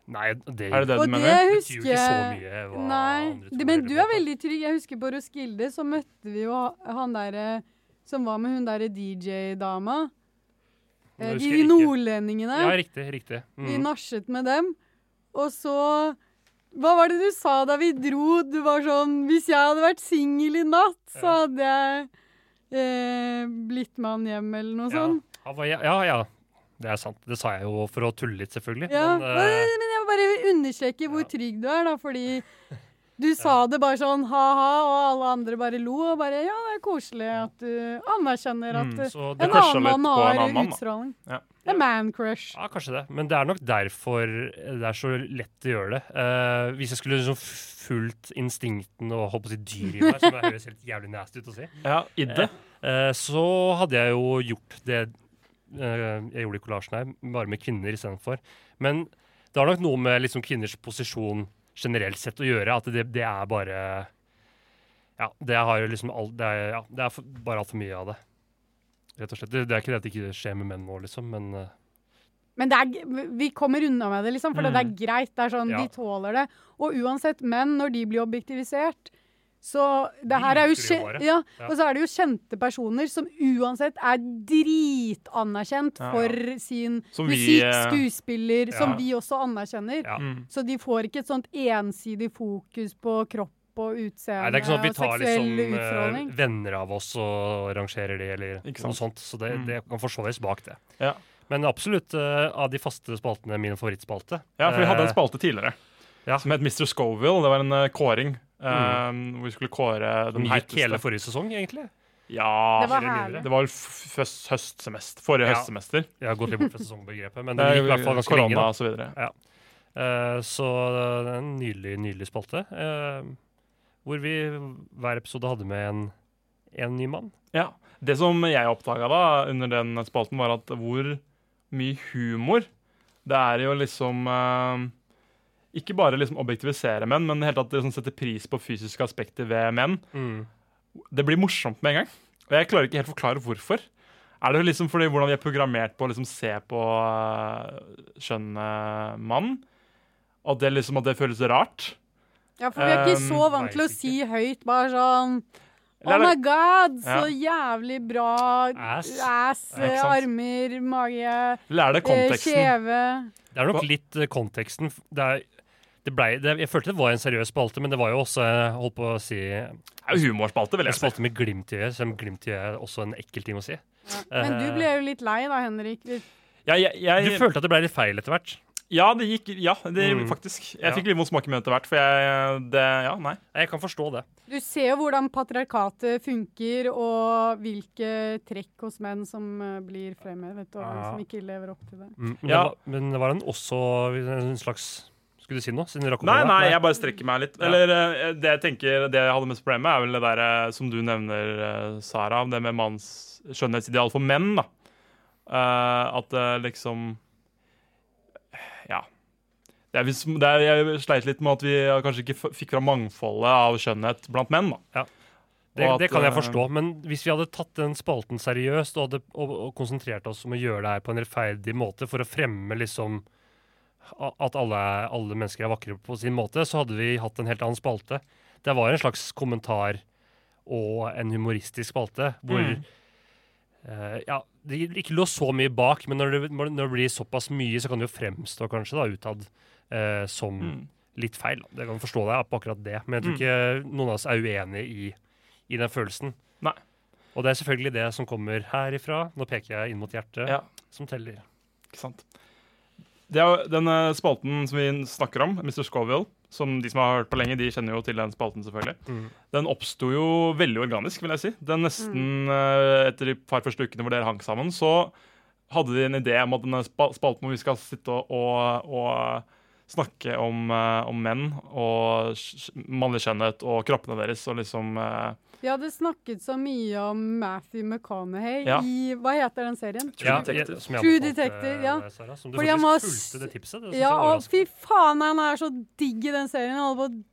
Speaker 3: Nei, det,
Speaker 6: Er det det du
Speaker 5: Og det
Speaker 6: mener?
Speaker 3: betyr jo ikke så
Speaker 5: husker
Speaker 3: mye hva
Speaker 5: Nei,
Speaker 3: andre
Speaker 5: det,
Speaker 3: tror
Speaker 5: men
Speaker 3: eller
Speaker 5: du er
Speaker 3: på en måte.
Speaker 5: veldig trygg. Jeg husker på Roskilde, så møtte vi jo ha- han derre som var med hun derre DJ-dama.
Speaker 3: Nå
Speaker 5: Eh,
Speaker 3: husker
Speaker 5: De
Speaker 3: jeg ikke.
Speaker 5: nordlendingene.
Speaker 3: Ja, riktig. riktig.
Speaker 5: Vi
Speaker 3: Mm.
Speaker 5: nasjet med dem. Og så Hva var det du sa da vi dro? Du var sånn Hvis jeg hadde vært singel i natt, så hadde jeg eh, blitt med han hjem, eller noe sånn. sånt.
Speaker 3: Ja. Han var- Ja, ja, ja. Det er sant. Det sa jeg jo for å tulle litt, selvfølgelig.
Speaker 5: Ja,
Speaker 3: Men,
Speaker 5: men,
Speaker 3: eh,
Speaker 5: men jeg vil bare understreke hvor
Speaker 3: ja.
Speaker 5: trygg du er, da, fordi du sa det bare sånn ha-ha, og alle andre bare lo, og bare Ja, det er koselig at du anerkjenner at
Speaker 6: Mm,
Speaker 5: eh,
Speaker 3: så det,
Speaker 5: en
Speaker 6: crushet litt
Speaker 5: annen
Speaker 6: på
Speaker 5: mann
Speaker 6: en
Speaker 5: har
Speaker 6: annen mann, da.
Speaker 5: utstråling.
Speaker 6: Ja.
Speaker 5: Det er man-crush.
Speaker 3: eh, ja, kanskje det. Men det er nok derfor eh, det er så lett å gjøre det. Eh, hvis jeg skulle liksom fulgt instinkten og holdt på å si dyr i meg, som det høres helt jævlig nasty ut å si,
Speaker 6: Ja, idde.
Speaker 3: eh, så hadde jeg jo gjort det eh, jeg gjorde i kollasjen her, bare med kvinner istedenfor. Men det har nok noe med liksom kvinners posisjon generelt sett å gjøre, at det, det er bare Ja, det har jo liksom alt Det er, ja, det er for, bare altfor mye av det. Rett og slett. Det, det er ikke det at det ikke skjer med menn nå, liksom, men eh,
Speaker 5: Men det er, g- vi kommer unna med det, liksom, for det er greit. Det er sånn,
Speaker 3: Mm. Ja.
Speaker 5: De tåler det. Og uansett, menn, når de blir objektivisert så det her er jo
Speaker 3: liker det
Speaker 5: kje-
Speaker 3: bare.
Speaker 5: ja,
Speaker 3: Ja.
Speaker 5: Og så er det jo kjente personer som uansett er dritanerkjent
Speaker 6: Ja, ja.
Speaker 5: for sin
Speaker 6: Som vi,
Speaker 5: musikk,
Speaker 6: eh,
Speaker 5: skuespiller, som
Speaker 3: ja.
Speaker 5: vi også anerkjenner.
Speaker 3: Ja.
Speaker 6: Mm.
Speaker 5: Så de får ikke et sånt ensidig fokus på kropp og utseende
Speaker 3: Nei, det er ikke sånn at vi
Speaker 5: og
Speaker 3: tar
Speaker 5: seksuell
Speaker 3: liksom eh,
Speaker 5: utstråling.
Speaker 3: venner av oss og rangerer de, eller
Speaker 6: Ikke
Speaker 3: noe sånt. Så det,
Speaker 6: Mm.
Speaker 3: det kan forsvares bak det.
Speaker 6: Ja.
Speaker 3: Men absolutt eh, av de faste spaltene min favorittspalte.
Speaker 6: Ja, for vi hadde en
Speaker 3: Eh,
Speaker 6: spalte tidligere
Speaker 3: ja. Mm.
Speaker 6: som het Mr. Scoville. Det var en eh, kåring. eh, Hvor vi skulle kåre
Speaker 3: som
Speaker 6: den
Speaker 3: gikk hele
Speaker 6: heiteste
Speaker 3: forrige sesong, egentlig.
Speaker 6: Ja,
Speaker 5: Det var
Speaker 3: Eller
Speaker 5: herlig.
Speaker 3: nyere.
Speaker 6: det var vel f- først høstsemester. Forrige
Speaker 3: Ja.
Speaker 6: høstsemester.
Speaker 3: Jeg har gått litt bort fra sesongbegrepet, men det
Speaker 6: Det er
Speaker 3: gikk i hvert fall ganske lenge.
Speaker 6: Korona
Speaker 3: Da.
Speaker 6: og så videre.
Speaker 3: Eh, så det er en nydelig, nydelig spalte. eh, hvor vi hver episode hadde med en, en ny mann.
Speaker 6: Ja. Det som jeg oppdaga da, under den spalten, var at hvor mye humor Det er jo liksom eh, Ikke bare liksom objektivisere menn, men helt at det liksom setter pris på fysiske aspekter ved menn. Det blir morsomt med en gang. Og jeg klarer ikke helt forklare hvorfor. Er det liksom fordi hvordan vi er programmert på å liksom se på eh, skjønne mann? At det liksom at det føles rart?
Speaker 5: Ja, for vi er ikke
Speaker 6: Um,
Speaker 5: så vant til å
Speaker 3: vet ikke.
Speaker 5: si høyt bare sånn Oh
Speaker 6: Eller er
Speaker 5: my
Speaker 6: det-
Speaker 5: god, så
Speaker 6: Ja.
Speaker 5: jævlig bra ass,
Speaker 3: Ass.
Speaker 6: Ja, ikke sant?
Speaker 5: armer, mage,
Speaker 6: Eller er det
Speaker 5: eh,
Speaker 6: konteksten?
Speaker 5: kjeve
Speaker 3: Det er nok
Speaker 6: Hva-
Speaker 3: litt eh, konteksten. Det er, det ble, det, Jeg følte det var en seriøs spalte, men det var jo også eh, holdt på å si, en
Speaker 6: Det er jo humorspalte, vil jeg si.
Speaker 3: spalte med glimt i øyet, selv om glimt i øyet er også en ekkel ting å si.
Speaker 5: Men
Speaker 6: Eh.
Speaker 5: du ble jo litt lei da, Henrik. Vi-
Speaker 6: Jeg, jeg,
Speaker 3: Du
Speaker 6: jeg,
Speaker 3: følte at det ble litt feil etter hvert.
Speaker 6: ja, det gikk Ja, det,
Speaker 3: Mm.
Speaker 6: faktisk. Jeg
Speaker 3: Ja.
Speaker 6: fikk litt vondt smak i munnen etter hvert, for jeg det, Ja, nei.
Speaker 3: Jeg kan forstå det.
Speaker 5: Du ser jo hvordan patriarkatet funker, og hvilke trekk hos menn som eh, blir fremhevet, og
Speaker 3: Ja.
Speaker 5: som ikke lever opp til det.
Speaker 3: Mm, Men,
Speaker 6: Ja.
Speaker 3: det var, men det var en også en slags Skulle du si noe? Siden du rakk opp
Speaker 6: Nei,
Speaker 3: hånda?
Speaker 6: nei, jeg bare strekker meg litt. Eller eh, det jeg tenker, det jeg hadde mest problem med, er vel det der eh, som du nevner, eh, Sara, om det med manns skjønnhetsideal for menn, da. Eh, at det liksom Ja. Det er, hvis- det er, jeg sleit litt med at vi kanskje ikke f- fikk fram mangfoldet av skjønnhet blant menn, da.
Speaker 3: Det,
Speaker 6: Og at,
Speaker 3: det kan jeg
Speaker 6: eh,
Speaker 3: forstå, men hvis vi hadde tatt den spalten seriøst og, hadde, og, og konsentrert oss om å gjøre det her på en rettferdig måte for å fremme liksom a- at alle, alle mennesker er vakre på sin måte, så hadde vi hatt en helt annen spalte. Det var en slags kommentar og en humoristisk spalte hvor
Speaker 6: Mm.
Speaker 3: eh, ja, det ikke lå så mye bak, men når det, når det blir såpass mye, så kan det jo fremstå kanskje da utad eh, som
Speaker 6: Mm.
Speaker 3: litt feil. da. Det kan forstå deg på akkurat det, men jeg tror ikke noen av oss er uenig i, i den følelsen.
Speaker 6: Nei.
Speaker 3: Og det er selvfølgelig det som kommer herifra. Nå peker jeg inn mot hjertet,
Speaker 6: Ja.
Speaker 3: som teller.
Speaker 6: Ikke sant? Det er jo den eh, spalten som vi snakker om, Mr. Scoville, som de som har hørt på lenge, de kjenner jo til den spalten, selvfølgelig.
Speaker 3: Mm.
Speaker 6: Den oppsto jo veldig organisk, vil jeg si. Den nesten eh, Etter de par første ukene hvor dere hang sammen, så hadde de en idé om at denne spa- spalten hvor vi skal sitte og, og, og snakke om, eh, om menn og sk- mannlig skjønnhet og kroppene deres og liksom eh,
Speaker 5: Vi hadde snakket så mye om Matthew McConaughey
Speaker 6: Ja.
Speaker 5: i Hva heter den serien?
Speaker 3: Ja,
Speaker 8: Detective.
Speaker 3: jeg- som jeg
Speaker 5: True
Speaker 3: anbefalte,
Speaker 5: Detective, ja.
Speaker 3: eh, Sara, som du
Speaker 5: Fordi han
Speaker 3: faktisk
Speaker 5: var s-
Speaker 3: fulgte det tipset. Det synes
Speaker 5: Ja,
Speaker 3: jeg var
Speaker 5: og fy faen, han er så digg i den serien. Han holder på å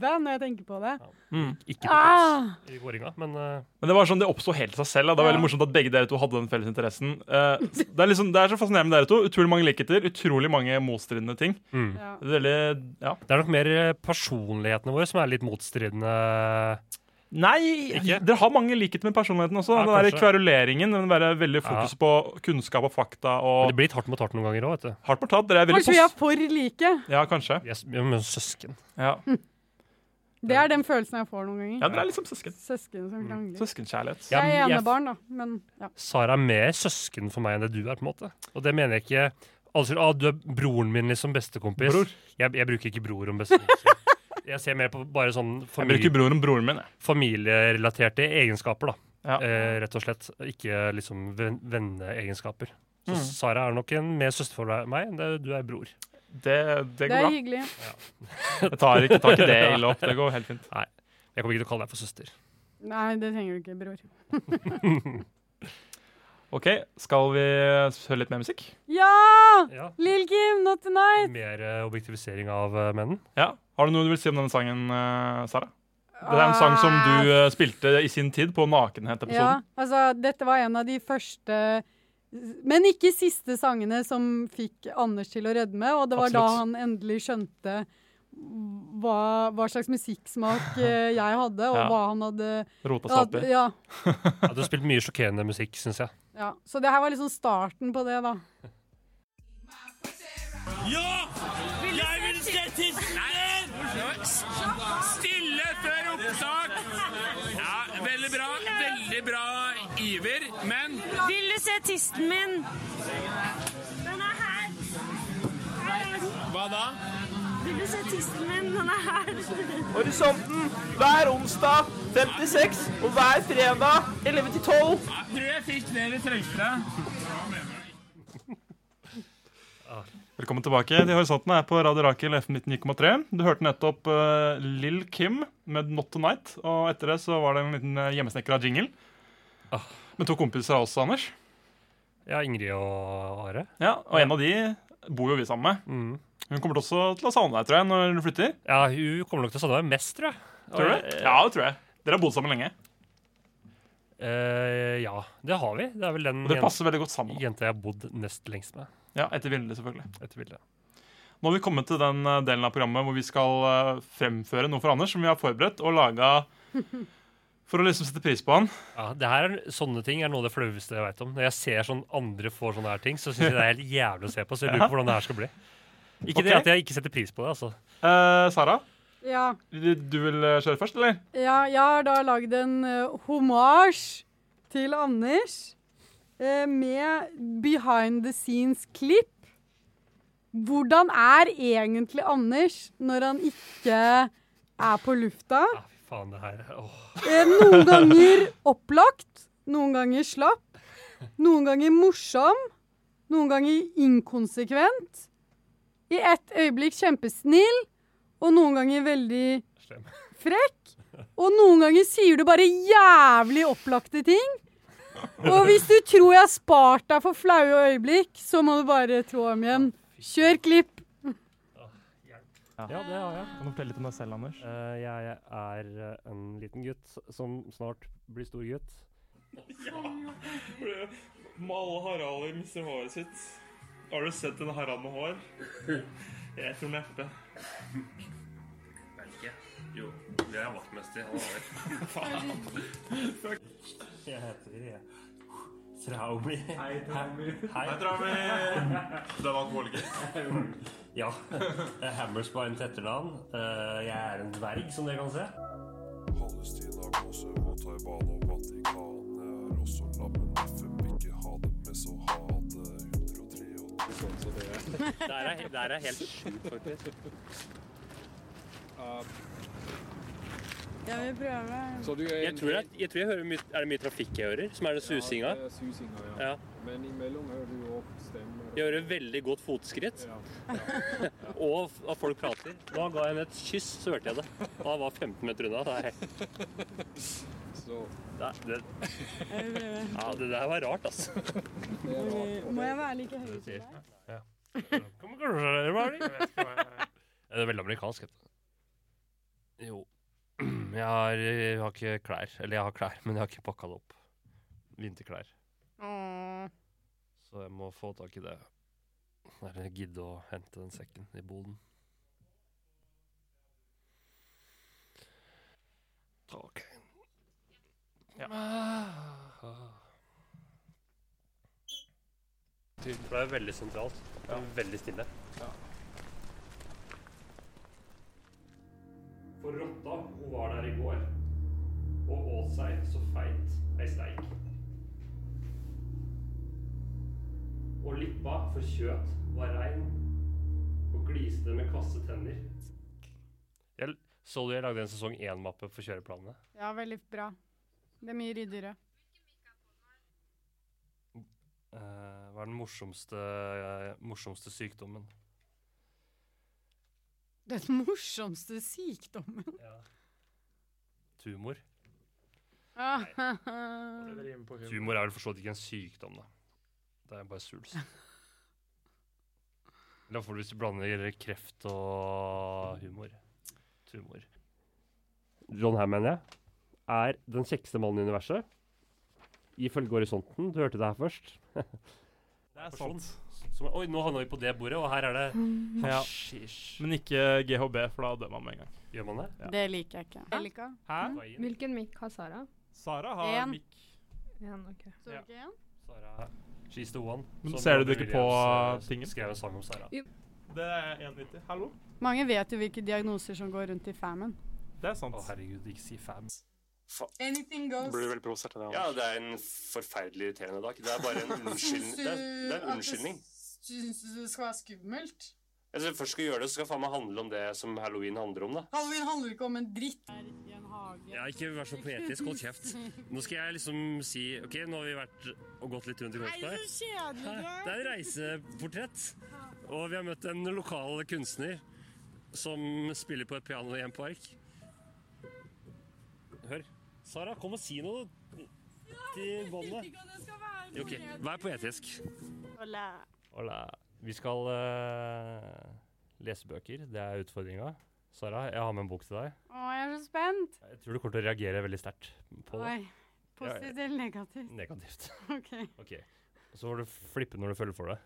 Speaker 5: daue når jeg tenker på det.
Speaker 3: overraskende. Ikke på
Speaker 5: Ah!
Speaker 3: tips i kåringa, men eh,
Speaker 6: Men det var sånn, det oppsto helt av seg selv. Da. Det var veldig
Speaker 5: Ja.
Speaker 6: morsomt at begge dere to hadde den felles interessen. Eh, det, er liksom, det er så fascinerende med dere to. Utrolig mange likheter, utrolig mange motstridende ting.
Speaker 5: Ja.
Speaker 6: Det er veldig, ja.
Speaker 3: det er nok mer eh, personlighetene våre som er litt motstridende.
Speaker 6: Nei,
Speaker 3: Ikke?
Speaker 6: dere har mange likheter med personligheten også.
Speaker 3: Ja,
Speaker 6: den der
Speaker 3: kanskje.
Speaker 6: kveruleringen, den der veldig fokus på kunnskap og fakta
Speaker 3: Men
Speaker 6: og
Speaker 3: det blir litt hardt mot hardt noen ganger òg, vet du.
Speaker 6: hardt fortalt. Dere er veldig
Speaker 5: Kanskje vi er
Speaker 6: post...
Speaker 5: for like?
Speaker 6: Ja, kanskje.
Speaker 3: Vi er s- vi er jo søsken.
Speaker 6: Ja.
Speaker 5: Det er den følelsen jeg får noen ganger.
Speaker 6: ja, dere er liksom søsken.
Speaker 5: Søsken som krangler.
Speaker 6: Søskenkjærlighet.
Speaker 3: Ja,
Speaker 5: Jeg er
Speaker 3: men jeg-
Speaker 5: enebarn, da, men ja.
Speaker 3: Sara er mer søsken for meg enn det du er, på en måte. Og det mener jeg ikke Altså, ah, du er broren min liksom bestekompis.
Speaker 6: Bror.
Speaker 3: Jeg, jeg bruker ikke bror om bestekompis. jeg ser mer på bare sånn
Speaker 6: Jeg bruker
Speaker 3: familie,
Speaker 6: broren om broren min. jeg.
Speaker 3: familierelaterte egenskaper, da.
Speaker 6: Ja.
Speaker 3: Eh, rett og slett. Ikke liksom ven- venneegenskaper. Så
Speaker 6: Mm.
Speaker 3: Sara er nok en mer søster for deg- meg enn det du er bror.
Speaker 6: Det, det
Speaker 5: Det
Speaker 6: går
Speaker 5: er
Speaker 6: bra.
Speaker 5: hyggelig.
Speaker 6: Jeg tar ikke, tar ikke det ille opp. Det går helt fint.
Speaker 3: Jeg kommer ikke til å kalle deg for søster.
Speaker 5: Nei, det trenger du ikke, bror.
Speaker 6: OK, skal vi høre litt mer musikk?
Speaker 5: Ja!
Speaker 3: Ja.
Speaker 5: Lill Kim, not tonight!
Speaker 3: Mer eh, objektivisering av eh, menn.
Speaker 6: Ja. Har du noe du vil si om denne sangen, eh, Sara? Det er en sang som du eh, spilte i sin tid på
Speaker 5: Ja,
Speaker 6: Nakenhet-episoden.
Speaker 5: altså, dette var en av de første men ikke siste sangene som fikk Anders til å rødme, og det var da
Speaker 6: Absolutt.
Speaker 5: han endelig skjønte hva, hva slags musikksmak eh, jeg hadde, og
Speaker 6: Ja.
Speaker 5: hva han hadde
Speaker 6: Rota seg opp
Speaker 5: at,
Speaker 6: i.
Speaker 5: ja,
Speaker 3: Ja, du har spilt mye sjokkerende musikk, syns jeg.
Speaker 5: ja. Så det her var liksom starten på det, da.
Speaker 2: Stille før opptak! Ja, veldig bra. Veldig bra iver, men
Speaker 9: Vil du se tissen min? Den er her. Her er den.
Speaker 2: hva da?
Speaker 9: Vil du se tissen min? Den er her.
Speaker 10: Horisonten hver onsdag 56 og hver fredag 11 til 12.
Speaker 2: Jeg tror jeg fikk det vi trengte.
Speaker 6: Velkommen tilbake til Horisonten her på Radio Rakel FM 99,3. Du hørte nettopp eh, Lill Kim med Not Tonight, og etter det så var det en liten eh, hjemmesnekra jingle. Med to kompiser av oss, Anders.
Speaker 3: Ja, Ingrid og Are.
Speaker 6: Ja, Mm. Og en av de bor jo vi sammen med. Hun kommer til også til å savne deg, tror jeg, når du flytter.
Speaker 3: Ja, hun kommer nok til å savne meg mest, tror jeg.
Speaker 6: Tror du? det? Ja, det tror jeg. Dere har bodd sammen lenge.
Speaker 3: Eh, ja, det har vi. Det er vel den
Speaker 6: Og dere
Speaker 3: jen-
Speaker 6: passer veldig godt sammen.
Speaker 3: jenta jeg har bodd nest lengst med.
Speaker 6: Ja, Etter Vilde, selvfølgelig.
Speaker 3: Etter Vilde.
Speaker 6: Nå har vi kommet til den eh, delen av programmet hvor vi skal eh, fremføre noe for Anders som vi har forberedt og laga for å liksom sette pris på han.
Speaker 3: Ja, det her er, Sånne ting er noe av det flaueste jeg veit om. Når jeg ser sånn andre får sånne her ting, så syns jeg det er helt jævlig å se på. Så jeg lurer på hvordan det her skal bli. Ikke det
Speaker 6: Ok.
Speaker 3: at jeg ikke setter pris på det, altså.
Speaker 6: Eh, Sara,
Speaker 5: Ja.
Speaker 6: du vil eh, kjøre først, eller?
Speaker 5: Ja, jeg har da lagd en uh, hommage til Anders eh, med behind the scenes-klipp. Hvordan er egentlig Anders når han ikke er på lufta?
Speaker 3: Faen, det her Åh.
Speaker 5: Eh, noen ganger opplagt, noen ganger slapp, noen ganger morsom, noen ganger inkonsekvent. I ett øyeblikk kjempesnill, og noen ganger veldig frekk. Og noen ganger sier du bare jævlig opplagte ting. Og hvis du tror jeg har spart deg for flaue øyeblikk, så må du bare trå om igjen. Kjør klipp.
Speaker 3: Ja, det har jeg.
Speaker 6: Kan du fortelle litt om deg selv, Anders?
Speaker 3: Eh, jeg er eh, en liten gutt som snart blir stor gutt.
Speaker 6: Med alle Haralder mister håret sitt. Har du sett en Harald med hår? Jeg tror neppe.
Speaker 2: Vet ikke. Jo, det er vaktmester. Han var der. Fuck. Jeg heter Traumi. Hei, Traumi. Hei,
Speaker 6: Traumi. Du er
Speaker 2: alkoholiker?
Speaker 3: Ja. Det er Hammerspine til etternavn. Eh, jeg er en dverg, som dere kan se.
Speaker 11: Palestina, Kosovo, Taiwan og Vatikanet er også lammen FN vil ikke ha det med, så ha det 183
Speaker 12: Der er helt sjukt, faktisk.
Speaker 5: Jeg vil prøve.
Speaker 12: jeg, tror jeg, jeg tror jeg hører mye Er det mye trafikk jeg hører? Som er det susinga?
Speaker 13: Ja, det er susinga, ja.
Speaker 12: Ja.
Speaker 13: Men imellom hører du jo opp stemmer.
Speaker 12: Jeg hører veldig godt fotskritt. og f- at folk prater. Da ga jeg henne et kyss, så hørte jeg det. Og han var 15 meter unna. Det er
Speaker 13: Så
Speaker 12: Nei, det, ja, det der var rart, altså.
Speaker 5: Må jeg være like høy som deg?
Speaker 3: Det er veldig amerikansk. vet du. Jo. Jeg har, jeg har ikke klær. Eller jeg har klær, men jeg har ikke pakka det opp. Vinterklær. Så jeg må få tak i det. Eller gidde å hente den sekken i boden. Ok. For det er veldig sentralt. Det er Veldig stille. For rotta, hun var der i går. Og åt seg så feit ei steik. Og lippa for kjøt var rein og gliste med kasse tenner. Jeg, så du jeg lagde en sesong 1-mappe for kjøreplanene?
Speaker 5: Ja, veldig bra. Det er mye ryddigere.
Speaker 3: Eh, hva er den morsomste, eh, morsomste sykdommen?
Speaker 5: Den morsomste sykdommen.
Speaker 3: Tumor.
Speaker 13: Humor
Speaker 3: Tumor er vel for så vidt ikke en sykdom, da. Det er bare svulst. Eller får du hvis du blander kreft og humor. Tumor. John Hamm, mener jeg, er den kjekkeste mannen i universet. Ifølge horisonten. Du hørte det her først.
Speaker 6: Det er
Speaker 3: Person
Speaker 6: sant.
Speaker 3: Som, oi, nå havna vi på det bordet, og her er det
Speaker 6: Ja.
Speaker 3: Hasjisj.
Speaker 6: Men ikke GHB, for da dør man med en gang.
Speaker 3: Gjør man det?
Speaker 5: Det liker jeg ikke. Elika?
Speaker 6: Hæ?
Speaker 14: Hvilken mikk har Sara?
Speaker 6: Sara
Speaker 5: En.
Speaker 14: En, ok.
Speaker 5: Så du ikke en?
Speaker 3: Sara, she's the one.
Speaker 6: Men
Speaker 3: som
Speaker 6: ser du
Speaker 3: Robbie
Speaker 6: det ikke på,
Speaker 3: Williams,
Speaker 6: eh,
Speaker 3: eh,
Speaker 6: tingen?
Speaker 3: Skrev en sang om Sara.
Speaker 6: Det er 1,90. Hallo?
Speaker 5: Mange vet jo hvilke diagnoser som går rundt i famen.
Speaker 6: Det er sant.
Speaker 3: Å, herregud, ikke si fam.
Speaker 5: Anything
Speaker 6: veldig provosert av
Speaker 12: Ja, det er en forferdelig irriterende dag. Det er bare en unnskyldning. Det er, det er en unnskyldning.
Speaker 5: Syns du det skal være skummelt?
Speaker 12: Altså, hvis jeg først skal gjøre det, så skal faen meg handle om det som halloween handler om, da.
Speaker 5: Halloween handler ikke om en dritt. i en hage.
Speaker 12: Ja, ikke vær så poetisk. Hold kjeft. Nå skal jeg liksom si OK, nå har vi vært og gått litt rundt i Kongsberg.
Speaker 5: kjedelig
Speaker 12: Her, Det er et reiseportrett. Og vi har møtt en lokal kunstner som spiller på et piano i en park. Hør. Sara, kom og si noe til båndet. OK, vær poetisk.
Speaker 3: Hola. Vi skal eh, lese bøker. Det er utfordringa. Sara, jeg har med en bok til deg.
Speaker 5: Å, jeg er så spent.
Speaker 3: Jeg tror du kommer til å reagere veldig sterkt på det.
Speaker 5: Oi. Positivt eller negativt?
Speaker 3: Negativt.
Speaker 5: OK.
Speaker 3: Ok. Og Så får du flippe når du føler for det.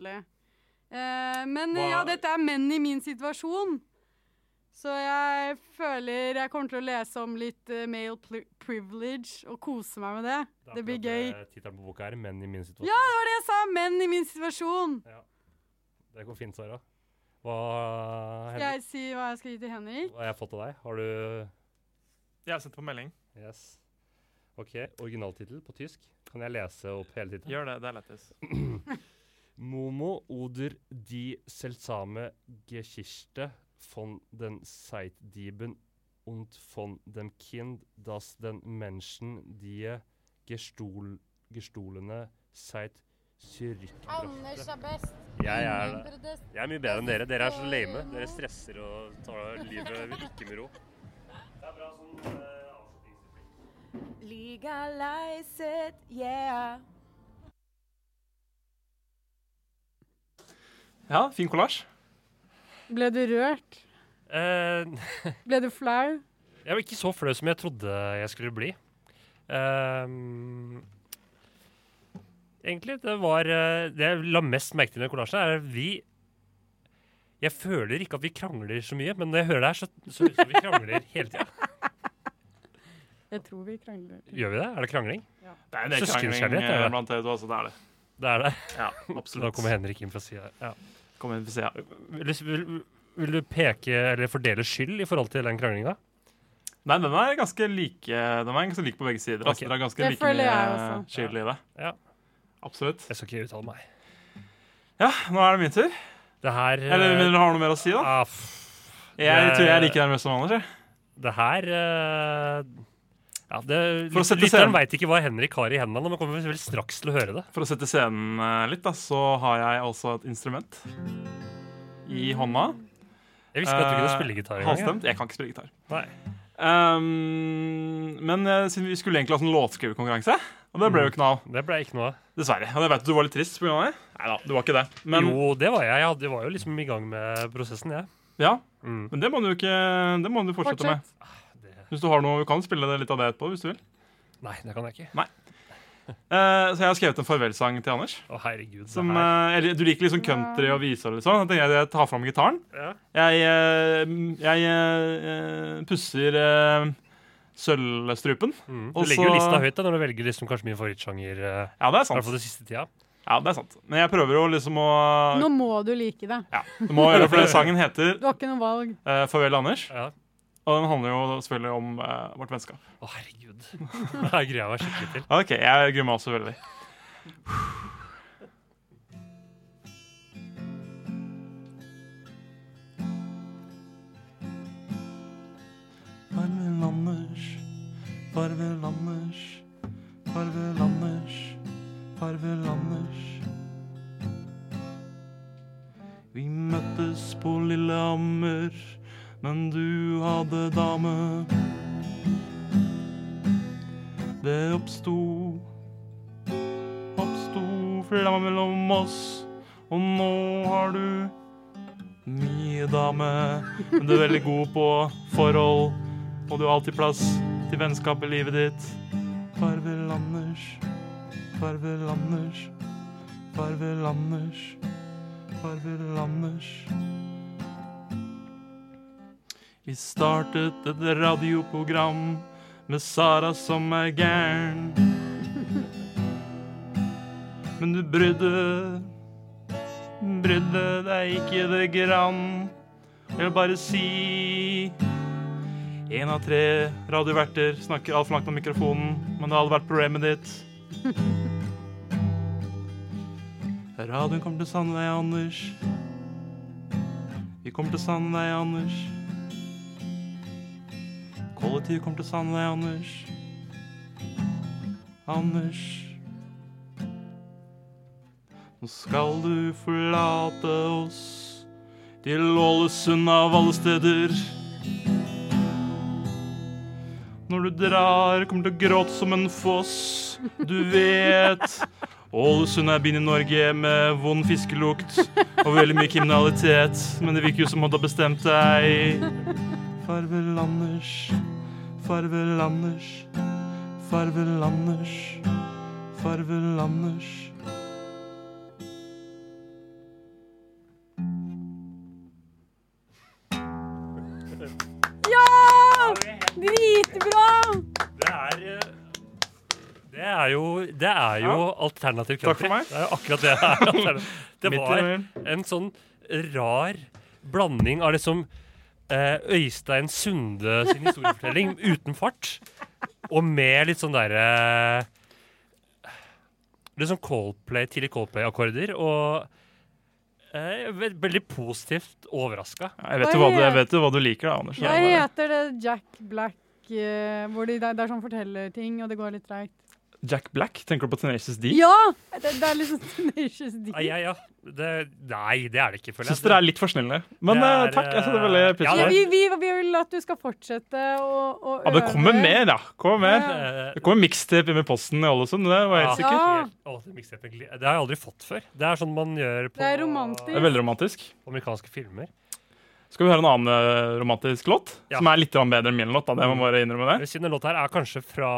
Speaker 5: Le. Eh, men
Speaker 3: Hva-
Speaker 5: Eh, ja, dette er menn i min situasjon. Så jeg føler jeg kommer til å lese om litt eh, male pli- privilege og kose meg med det. Det blir gøy.
Speaker 3: Tittelen på boka er 'Menn i min situasjon'.
Speaker 5: Ja, det var det jeg sa! Menn i min situasjon.
Speaker 3: Det går fint, Sara. Hva,
Speaker 5: Skal jeg
Speaker 3: Henrik,
Speaker 5: si hva jeg skal gi til Henrik?
Speaker 3: hva har jeg fått av deg? Har du
Speaker 6: Jeg har sendt på melding.
Speaker 3: Yes. Ok, originaltittel på tysk. Kan jeg lese opp hele tittelen?
Speaker 6: Gjør det. Det er lettest.
Speaker 3: Momo oder die seltsame Geschichte von den Zeitdieben und von dem Kind, das den Menschen die gestohl, gestohlene Zeit
Speaker 15: Anders er best.
Speaker 3: Jeg er,
Speaker 15: Ingen protest.
Speaker 3: jeg er mye bedre enn dere. Dere er så lame. Dere stresser og tar livet ikke med ro.
Speaker 16: Legalize it, yeah.
Speaker 6: Ja, fin kollasj.
Speaker 5: Ble du rørt?
Speaker 3: Eh,
Speaker 5: Ble du flau?
Speaker 3: Jeg var ikke så flau som jeg trodde jeg skulle bli. Ehm, egentlig, det var eh, Det jeg la mest merke til i den kollasjen, er at vi Jeg føler ikke at vi krangler så mye, men når jeg hører det her, så så høres det ut som vi krangler hele tida.
Speaker 5: Jeg tror vi krangler.
Speaker 3: Gjør vi det? Er det krangling?
Speaker 5: Ja.
Speaker 6: Det er en del
Speaker 3: Søskenkjærlighet,
Speaker 6: krangling
Speaker 3: er
Speaker 6: eh,
Speaker 3: det.
Speaker 6: blant dere to, altså. Det er det.
Speaker 3: Det er det.
Speaker 6: Ja, absolutt.
Speaker 3: Da kommer Henrik inn for å si det. Ja.
Speaker 6: Kom inn for å si ja.
Speaker 3: Vil, du- vil, vil du peke eller fordele skyld i forhold til den kranglinga?
Speaker 6: Nei, den er ganske like, den er ganske like på begge sider.
Speaker 3: Ok.
Speaker 6: Altså, det er ganske
Speaker 3: Det
Speaker 6: like
Speaker 3: føler
Speaker 6: mye
Speaker 3: jeg også.
Speaker 6: skyld i det.
Speaker 3: Ja.
Speaker 6: Absolutt.
Speaker 3: Jeg skal ikke uttale meg.
Speaker 6: Ja, nå er det min tur.
Speaker 3: Det her eh, ah,
Speaker 6: Eller vil dere ha noe mer å si, da? jeg
Speaker 3: det-
Speaker 6: tror jeg er like nervøs som Anders. jeg.
Speaker 3: Det her eh, ja, det,
Speaker 6: For å sette
Speaker 3: Lytteren
Speaker 6: scenen.
Speaker 3: veit ikke hva Henrik har i hendene, men kommer vel straks til å høre det.
Speaker 6: For å sette scenen eh, litt, da, så har jeg også et instrument i hånda.
Speaker 3: Jeg visste ikke at du kunne
Speaker 6: Eh,
Speaker 3: spille gitar engang, jeg.
Speaker 6: Halvstemt? Jeg kan ikke spille gitar.
Speaker 3: Nei.
Speaker 6: Ehm, men eh, siden vi skulle egentlig ha sånn låtskriverkonkurranse, og det ble jo ikke noe av.
Speaker 3: Det ble ikke noe av.
Speaker 6: Dessverre. Og jeg vet at du var litt trist pga. det. Nei da, du var ikke det. Men,
Speaker 3: jo, det var jeg. Jeg hadde- var jo liksom i gang med prosessen, jeg. Mm.
Speaker 6: Ja, men det må du ikke Det må du fortsette
Speaker 3: Fortsett.
Speaker 6: med. Hvis du har noe, du kan spille det litt av det etterpå hvis du vil.
Speaker 3: Nei, det kan jeg ikke.
Speaker 6: Nei. Eh, så jeg har skrevet en farvelsang til Anders.
Speaker 3: Å, herregud, det
Speaker 6: som,
Speaker 3: her.
Speaker 6: eh, eller, du liker litt sånn country og viser og litt sånn. Da tenker jeg at jeg tar fram gitaren.
Speaker 3: Ja.
Speaker 6: Jeg, eh, jeg eh, pusser eh, sølvstrupen.
Speaker 3: Mm. Du legger jo lista høyt da, når du velger liksom kanskje min favorittsjanger. eh,
Speaker 6: Ja, det er sant.
Speaker 3: I hvert fall det siste tida.
Speaker 6: Ja, det er sant. Men jeg prøver å liksom å
Speaker 5: Nå må du like det.
Speaker 6: Du må gjøre det, for den sangen heter
Speaker 5: Du har ikke noe valg.
Speaker 6: eh, Farvel, Anders.
Speaker 3: Ja.
Speaker 6: Og den handler jo selvfølgelig om eh, vårt vennskap.
Speaker 3: Å, herregud. Det her gruer jeg meg skikkelig til.
Speaker 6: OK, jeg gruer meg også veldig.
Speaker 17: Farvel, Anders. Farvel, Anders. Farvel, Anders. Farvel, Anders. Vi møttes på Lillehammer, men du hadde dame. Det oppsto oppsto flamme mellom oss, og nå har du mye dame. Men du er veldig god på forhold, og du har alltid plass til vennskap i livet ditt. Farvel, Anders. Farvel, Anders. Farvel, Anders. Farvel, Anders. Vi startet et radioprogram med Sara som er gæren. Men du brydde brydde deg ikke det grann. Jeg vil bare si Én av tre radioverter snakker altfor langt om mikrofonen, men det hadde vært problemet ditt. Radioen kommer til å savne deg, Anders. Vi kommer til å savne deg, Anders. Kollektivet kommer til å savne deg, Anders. Anders. Nå skal du forlate oss til Ålesund av alle steder. Når du drar, kommer du til å gråte som en foss. Du vet Ålesund er byen i Norge med vond fiskelukt og veldig mye kriminalitet. Men det virker jo som om du har bestemt deg. Farvel, Anders. Farvel, Anders. Farvel, Anders. Farvel, Anders.
Speaker 5: Ja! Dritbra!
Speaker 3: Det er eh, Det er jo, det er jo alternativ
Speaker 6: Takk for
Speaker 3: country.
Speaker 6: meg.
Speaker 3: Det er jo akkurat det her. alternativ. Det
Speaker 6: Midt i
Speaker 3: var en sånn rar blanding av liksom eh, Øystein Sunde sin historiefortelling uten fart, og med litt sånn derre Litt sånn Coldplay, tidlig Coldplay-akkorder, og eh, ve- veldig positivt overraska.
Speaker 6: Jeg vet, jo hva du, jeg vet jo hva du liker, da, Anders.
Speaker 5: Hva heter det Jack Black eh, hvor de, det er sånn forteller ting, og det går litt treigt?
Speaker 6: Jack Black, tenker du på Tenacious D?
Speaker 5: Ja! Det, det er liksom Tenacious D.
Speaker 3: Nei, ja, ja. Det, nei, det er det ikke, føler jeg.
Speaker 6: Syns dere er litt for snille. Men
Speaker 3: Det er,
Speaker 6: eh, takk, jeg setter
Speaker 3: eh,
Speaker 6: veldig pris
Speaker 5: Ja,
Speaker 6: på det.
Speaker 5: vi, vi, vi vil at du skal fortsette å, å
Speaker 6: Ja, det kommer
Speaker 5: øve.
Speaker 6: mer, da. Kommer mer.
Speaker 3: Ja.
Speaker 6: Det kommer mixtape med posten i Ålesund, det var jeg helt sikker.
Speaker 5: Ja.
Speaker 3: Å, det mixtapen gl- det har jeg aldri fått før. Det er sånn man gjør på
Speaker 5: Det er romantisk.
Speaker 6: Det er veldig romantisk.
Speaker 3: amerikanske filmer.
Speaker 6: Skal vi høre en annen eh, romantisk låt?
Speaker 3: Ja.
Speaker 6: Som er litt grann bedre enn min låt, da. Det må jeg bare innrømme det.
Speaker 3: Siden den låta her er kanskje fra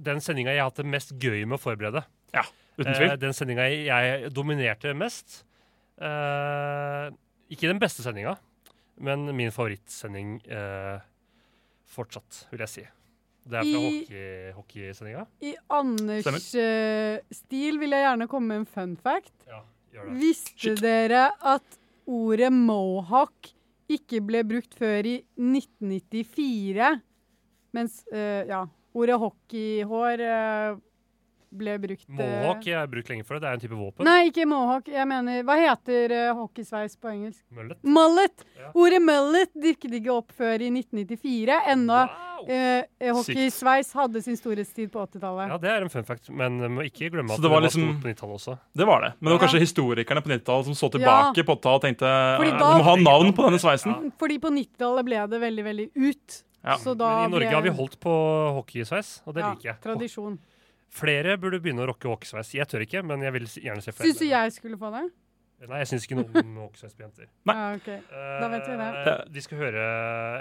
Speaker 3: den sendinga jeg har hatt det mest gøy med å forberede.
Speaker 6: Ja, uten tvil.
Speaker 3: Eh, den sendinga jeg dominerte mest. Eh, ikke den beste sendinga, men min favorittsending eh, fortsatt, vil jeg si. Det er fra
Speaker 5: I-
Speaker 3: hockey- hockeysendinga.
Speaker 5: I Anders eh, stil vil jeg gjerne komme med en fun fact.
Speaker 3: gjør det.
Speaker 5: Visste dere at ordet mohawk ikke ble brukt før i 1994? Mens eh, ja, ordet hockeyhår eh, ble brukt eh,
Speaker 3: Mohawk jeg har brukt lenge for det. Det er en type våpen.
Speaker 5: Nei, ikke mohawk. Jeg mener, hva heter eh, hockeysveis på engelsk?
Speaker 3: Mullet.
Speaker 5: Mullet!
Speaker 3: Ja.
Speaker 5: Ordet mullet dukket ikke opp før i 1994, enda eh, eh, hockeysveis hadde sin storhetstid på 80-tallet.
Speaker 3: Ja, det er en fun fact, men må ikke glemme
Speaker 6: Så
Speaker 3: at
Speaker 6: det
Speaker 3: det
Speaker 6: var
Speaker 3: var,
Speaker 6: liksom-
Speaker 3: stort på 90-tallet også.
Speaker 6: Det var det. Men det var kanskje historikerne på 90-tallet som så
Speaker 5: Ja.
Speaker 6: tilbake på 80-tallet og tenkte
Speaker 5: Fordi
Speaker 6: eh,
Speaker 5: da-
Speaker 6: Du må ha navn på denne sveisen.
Speaker 5: Mm, Fordi på 90-tallet ble det veldig, veldig ut.
Speaker 3: Ja.
Speaker 5: Så da
Speaker 3: men i Norge
Speaker 5: ble...
Speaker 3: har vi holdt på hockeysveis, og det
Speaker 5: Ja,
Speaker 3: liker jeg.
Speaker 5: Tradisjon.
Speaker 3: Flere burde begynne å rocke hockeysveis. Jeg tør ikke, men jeg vil s- gjerne se flere.
Speaker 5: Syns du jeg skulle få det?
Speaker 3: Nei, jeg syns ikke noe om hockeysveis på jenter.
Speaker 5: Ja, ok. Da vet vi det.
Speaker 3: Eh, vi skal høre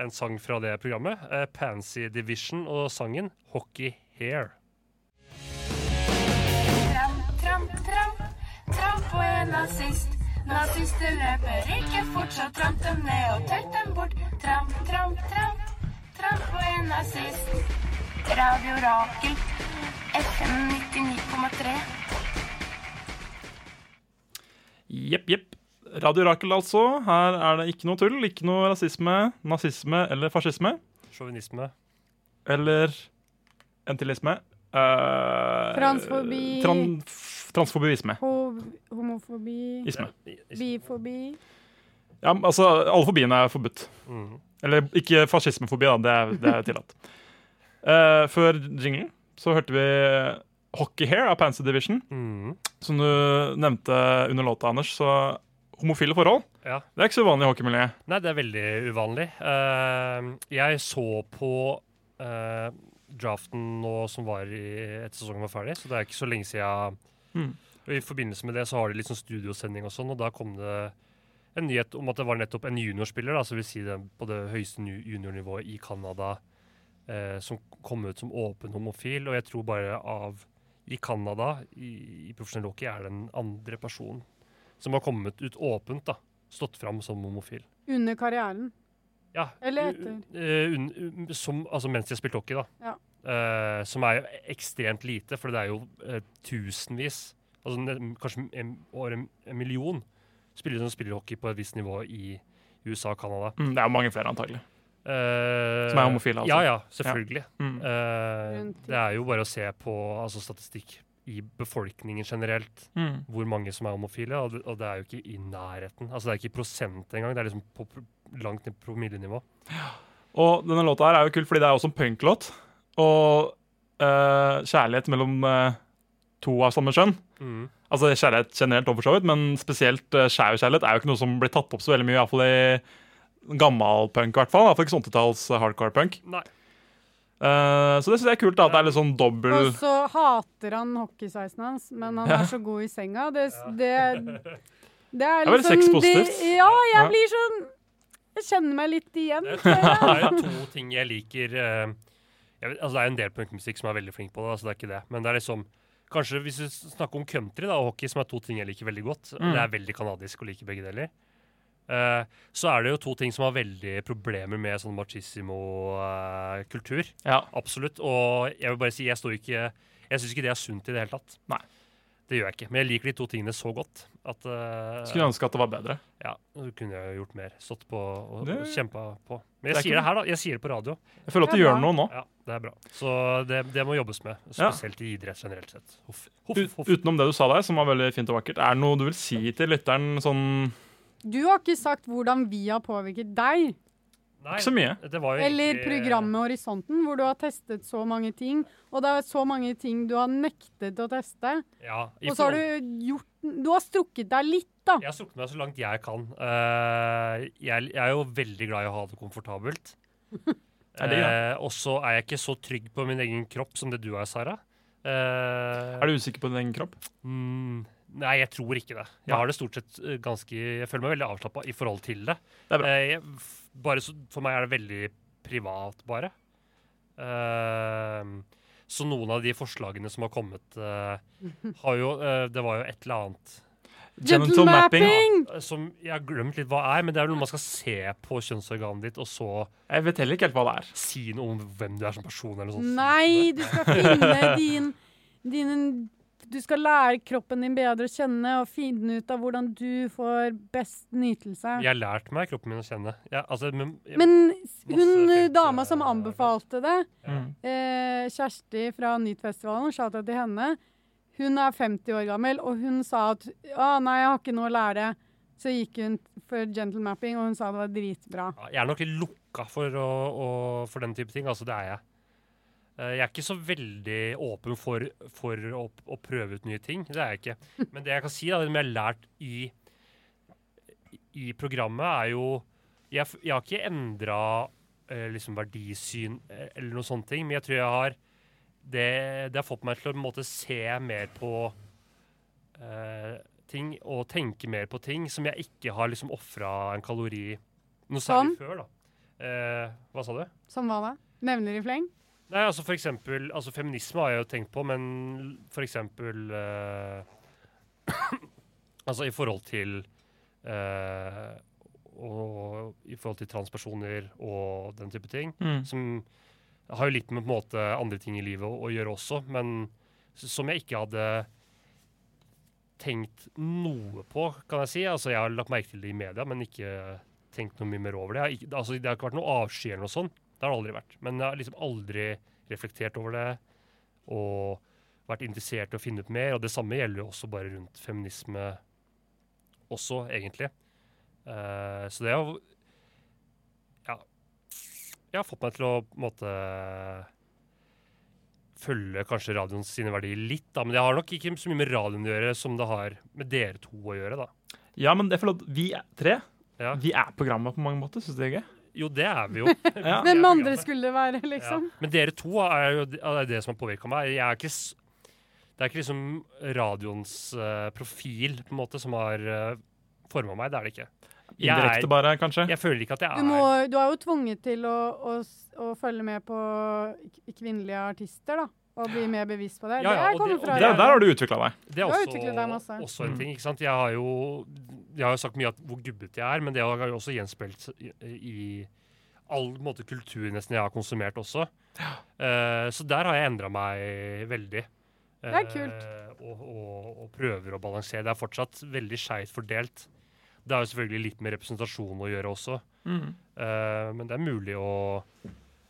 Speaker 3: en sang fra det programmet. Eh, Pansy Division og sangen Hockey Hair.
Speaker 18: Tramp, tramp, tramp. Tramp på en nazist. Nazister løper ikke fort, så tramp dem ned og telt dem bort. Tramp, tramp, tramp. Tramp på en nazist. Radio Rakel. FM 99,3.
Speaker 6: Jepp, jepp. Radio Rakel, altså. Her er det ikke noe tull. Ikke noe rasisme, nazisme eller fascisme.
Speaker 3: Sjåvinisme.
Speaker 6: Eller entilisme. Eh,
Speaker 5: Transfobi.
Speaker 6: tran- f- transfobiisme.
Speaker 5: Ho homofobi
Speaker 6: Isme.
Speaker 5: Bifobi
Speaker 6: Ja, men altså, alle fobiene er forbudt.
Speaker 3: Mhm.
Speaker 6: Eller ikke fascismefobi, da. Det er, det er tillatt. Eh, før jinglen så hørte vi Hockey Hair av Pansy Division.
Speaker 3: Mhm.
Speaker 6: Som du nevnte under låta, Anders, så homofile forhold
Speaker 3: Ja.
Speaker 6: Det er ikke så uvanlig i hockeymiljøet.
Speaker 3: Nei, det er veldig uvanlig. Eh, jeg så på eh, draften nå som var i, etter sesongen var ferdig, så det er ikke så lenge siden jeg
Speaker 6: Mm.
Speaker 3: Og I forbindelse med det så har de litt sånn studiosending og sånn, og da kom det en nyhet om at det var nettopp en juniorspiller, da, så vil si den på det høyeste nu- juniornivået i Canada, eh, som kom ut som åpen homofil, og jeg tror bare av i Canada, i, i profesjonell hockey, er det den andre personen som har kommet ut åpent, da, stått fram som homofil.
Speaker 5: Under karrieren.
Speaker 3: Ja.
Speaker 5: Eller etter.
Speaker 3: Eh, un, som, altså mens jeg spilte hockey, da.
Speaker 5: Ja.
Speaker 3: Eh, som er jo ekstremt lite, for det er jo eh, tusenvis, altså ne- kanskje en, over en, en million, spillere som spiller hockey på et visst nivå i USA og Canada.
Speaker 6: Mm, det er jo mange flere, antagelig.
Speaker 3: Eh,
Speaker 6: Som er homofile, altså.
Speaker 3: Ja, ja, selvfølgelig.
Speaker 6: Ja. Mm.
Speaker 3: Eh, det er jo bare å se på altså, statistikk i befolkningen generelt,
Speaker 6: Mm.
Speaker 3: hvor mange som er homofile, og det, og det er jo ikke i nærheten. Altså, det er ikke i prosent engang, det er liksom på, pro- langt ned på promillenivå.
Speaker 6: Og denne låta her er jo kul, fordi det er også en punklåt. Og eh, kjærlighet mellom eh, to av samme kjønn.
Speaker 3: Mm.
Speaker 6: Altså kjærlighet generelt, og for så vidt, men spesielt uh, skjær kjærlighet er jo ikke noe som blir tatt opp så veldig mye, iallfall i gammel punk, i hvert fall. da, For ikke sånn 80-talls hardcore punk.
Speaker 3: Nei.
Speaker 6: Eh, så det syns jeg er kult, da, at det er litt sånn dobbel
Speaker 5: Og så hater han hockeysveisen hans, men han
Speaker 6: Ja.
Speaker 5: er så god i senga. Det, det, det er
Speaker 6: Det er vel
Speaker 5: liksom
Speaker 6: sexpositivt.
Speaker 5: det- Ja,
Speaker 6: Ja.
Speaker 5: jeg blir sånn Jeg kjenner meg litt igjen.
Speaker 3: Det er jo to ting jeg liker eh, jeg vet, altså Det er en del punkmusikk som er veldig flink på det, altså det er ikke det. Men det er liksom Kanskje hvis du s- snakker om country da, og hockey, som er to ting jeg liker veldig godt.
Speaker 6: Mm.
Speaker 3: Det er veldig kanadisk å like begge deler. Eh, så er det jo to ting som har veldig problemer med sånn machismo-kultur. Absolutt. Og jeg vil bare si, jeg står ikke Jeg syns ikke det er sunt i det hele tatt.
Speaker 6: Nei.
Speaker 3: Det gjør jeg ikke. Men jeg liker de to tingene så godt at eh,
Speaker 6: Skulle ønske at det var bedre.
Speaker 3: Ja. Så kunne jeg jo gjort mer. Stått på og,
Speaker 6: Det-
Speaker 3: og kjempa på.
Speaker 6: Det
Speaker 3: Men
Speaker 6: er
Speaker 3: jeg sier
Speaker 6: ikke-
Speaker 3: det her, da. Jeg sier det på radio.
Speaker 6: Jeg føler at Det er du gjør bra. noe nå.
Speaker 3: Ja, det er bra. Så det, det må jobbes med.
Speaker 6: Ja.
Speaker 3: Spesielt i idrett generelt sett. Huff, huff,
Speaker 6: U-
Speaker 3: huff.
Speaker 6: Utenom det du sa der, som var veldig fint og vakkert, er det noe du vil si til lytteren sånn
Speaker 5: Du har ikke sagt hvordan vi har påvirket deg.
Speaker 3: Nei,
Speaker 6: Ikke så mye.
Speaker 3: Det var jo
Speaker 5: Eller
Speaker 3: egentlig-
Speaker 5: programmet Horisonten, hvor du har testet så mange ting. Og det er så mange ting du har nektet å teste.
Speaker 3: Ja, i
Speaker 5: Og så har
Speaker 3: forhold-
Speaker 5: du gjort Du har strukket deg litt, da.
Speaker 3: Jeg har strukket meg så langt jeg kan. Eh, jeg, jeg er jo veldig glad i å ha det komfortabelt.
Speaker 6: Er det, ja?
Speaker 3: Eh, og så er jeg ikke så trygg på min egen kropp som det du er, Sara. Eh,
Speaker 6: Er du usikker på din egen kropp?
Speaker 3: Mm, nei, jeg tror ikke det. Jeg
Speaker 6: Nei.
Speaker 3: har det stort sett eh, ganske Jeg føler meg veldig avslappa i forhold til det.
Speaker 6: Det er bra.
Speaker 3: Eh, jeg, f- bare så, for meg er det veldig privat, bare. Eh, så noen av de forslagene som har kommet, eh, har jo eh, Det var jo et eller annet
Speaker 6: Genital mapping. mapping!
Speaker 3: Ja, Som jeg har glemt litt hva er, men det er vel noe man skal se på kjønnsorganet ditt, og så
Speaker 6: Jeg vet heller ikke helt hva det er.
Speaker 3: Si noe om hvem du er som person, eller noe sånt.
Speaker 5: Nei, du skal finne din, din Du skal lære kroppen din bedre å kjenne og finne ut av hvordan du får best nytelse.
Speaker 3: Jeg har lært meg kroppen min å kjenne. Jeg, altså, men, jeg,
Speaker 5: Men hun eh, dama som anbefalte det, eh, Kjersti fra Nytfestivalen, sa det til henne. Hun er 50 år gammel, og hun sa at «Å, nei, jeg har ikke noe å lære. Så gikk hun for gentle mapping, og hun sa det var dritbra.
Speaker 3: jeg er nok litt lukka for, å, å, for den type ting. Altså, det er jeg. Eh, Jeg er ikke så veldig åpen for, for å, å prøve ut nye ting. Det er jeg ikke. Men det jeg kan si, da, det som jeg har lært i, i programmet, er jo Jeg, f- jeg har ikke endra liksom verdisyn eh, eller noen sånne ting, men jeg tror jeg har Det, det har fått meg til å på en måte se mer på eh, ting og tenke mer på ting som jeg ikke har liksom ofra en kalori noe
Speaker 5: Som?
Speaker 3: særlig før, da. Eh, hva sa du?
Speaker 5: Som hva da? Nevner i fleng?
Speaker 3: Nei, altså for eksempel altså Feminisme har jeg jo tenkt på, men for eksempel eh, Altså i forhold til eh, og, I forhold til transpersoner og den type ting.
Speaker 6: Mm.
Speaker 3: Som har jo litt med på en måte andre ting i livet å, å gjøre også, men s- som jeg ikke hadde tenkt noe på, kan jeg si. Altså, jeg har lagt merke til det i media, men ikke tenkt noe mye mer over det. Jeg har ikke, altså, det har ikke vært noe avsky eller noe sånt. Det har det aldri vært. Men jeg har liksom aldri reflektert over det og vært interessert i å finne ut mer. Og det samme gjelder jo også bare rundt feminisme også, egentlig. Eh, så det har ja, jeg har fått meg til å på en måte følge kanskje radioens sine verdier litt, da. Men det har nok ikke så mye med radioen å gjøre som det har med dere to å gjøre, da.
Speaker 6: Ja, men jeg føler at vi er tre
Speaker 3: Ja.
Speaker 6: Vi er programmet på mange måter, syns du det er gøy?
Speaker 3: Jo, det er vi jo.
Speaker 6: Ja.
Speaker 5: Hvem andre skulle det være, liksom?
Speaker 3: Ja. Men dere to er jo det, er det som har påvirka meg. Jeg er ikke, s- det er ikke liksom radioens eh, profil på en måte som har uh, forma meg. Det er det ikke. Jeg
Speaker 6: Indirekte
Speaker 3: er-
Speaker 6: bare, kanskje?
Speaker 3: Jeg føler ikke at jeg
Speaker 5: Du,
Speaker 3: er
Speaker 5: må, du er jo tvunget til å, å, s- å følge med på k- kvinnelige artister, da. Og bli mer bevisst på det.
Speaker 3: Ja, ja,
Speaker 5: det
Speaker 3: og det-
Speaker 5: kommer
Speaker 3: og
Speaker 5: fra
Speaker 6: Der, der har du utvikla deg.
Speaker 3: Det er
Speaker 5: Du har
Speaker 3: også,
Speaker 5: utviklet deg masse.
Speaker 3: også en
Speaker 5: Mm.
Speaker 3: ting. ikke sant? Jeg har jo, jeg har jo sagt mye at hvor gubbete jeg er, men det har jo også gjenspeilt i, i all på en måte, kultur nesten jeg har konsumert også. Eh, så der har jeg endra meg veldig.
Speaker 5: Det er
Speaker 3: Eh,
Speaker 5: kult.
Speaker 3: og, og, og prøver å balansere. Det er fortsatt veldig skeivt fordelt. Det har jo selvfølgelig litt med representasjon å gjøre også.
Speaker 6: Mm.
Speaker 3: Eh, men det er mulig å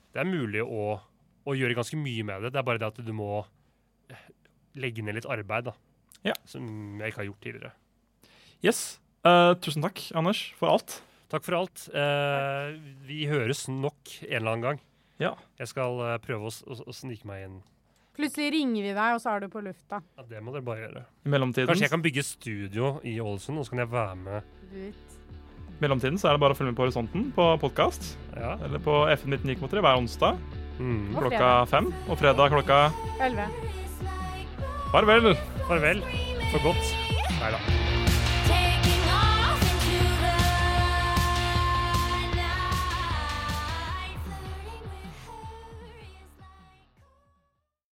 Speaker 3: Det er mulig å, å gjøre ganske mye med det. Det er bare det at du må eh, legge ned litt arbeid, da. Som jeg ikke har gjort tidligere.
Speaker 6: Yes. Eh, tusen takk, Anders, for alt.
Speaker 3: Takk for alt. Eh, vi høres nok en eller annen gang. Jeg skal eh, prøve å, s- å, å snike meg inn.
Speaker 5: Plutselig ringer vi deg, og så er du på lufta.
Speaker 3: Ja, det må dere bare gjøre.
Speaker 6: I mellomtiden,
Speaker 3: Kanskje jeg kan bygge studio i Ålesund, og så kan jeg være med.
Speaker 6: I mellomtiden så er det bare å følge med på Horisonten på podkast. Eller på FN 1993 hver onsdag
Speaker 3: Mm.
Speaker 5: Og
Speaker 6: klokka
Speaker 5: fredag.
Speaker 6: fem. Og fredag klokka
Speaker 5: Elleve.
Speaker 6: Farvel!
Speaker 3: Farvel. For godt. Nei da.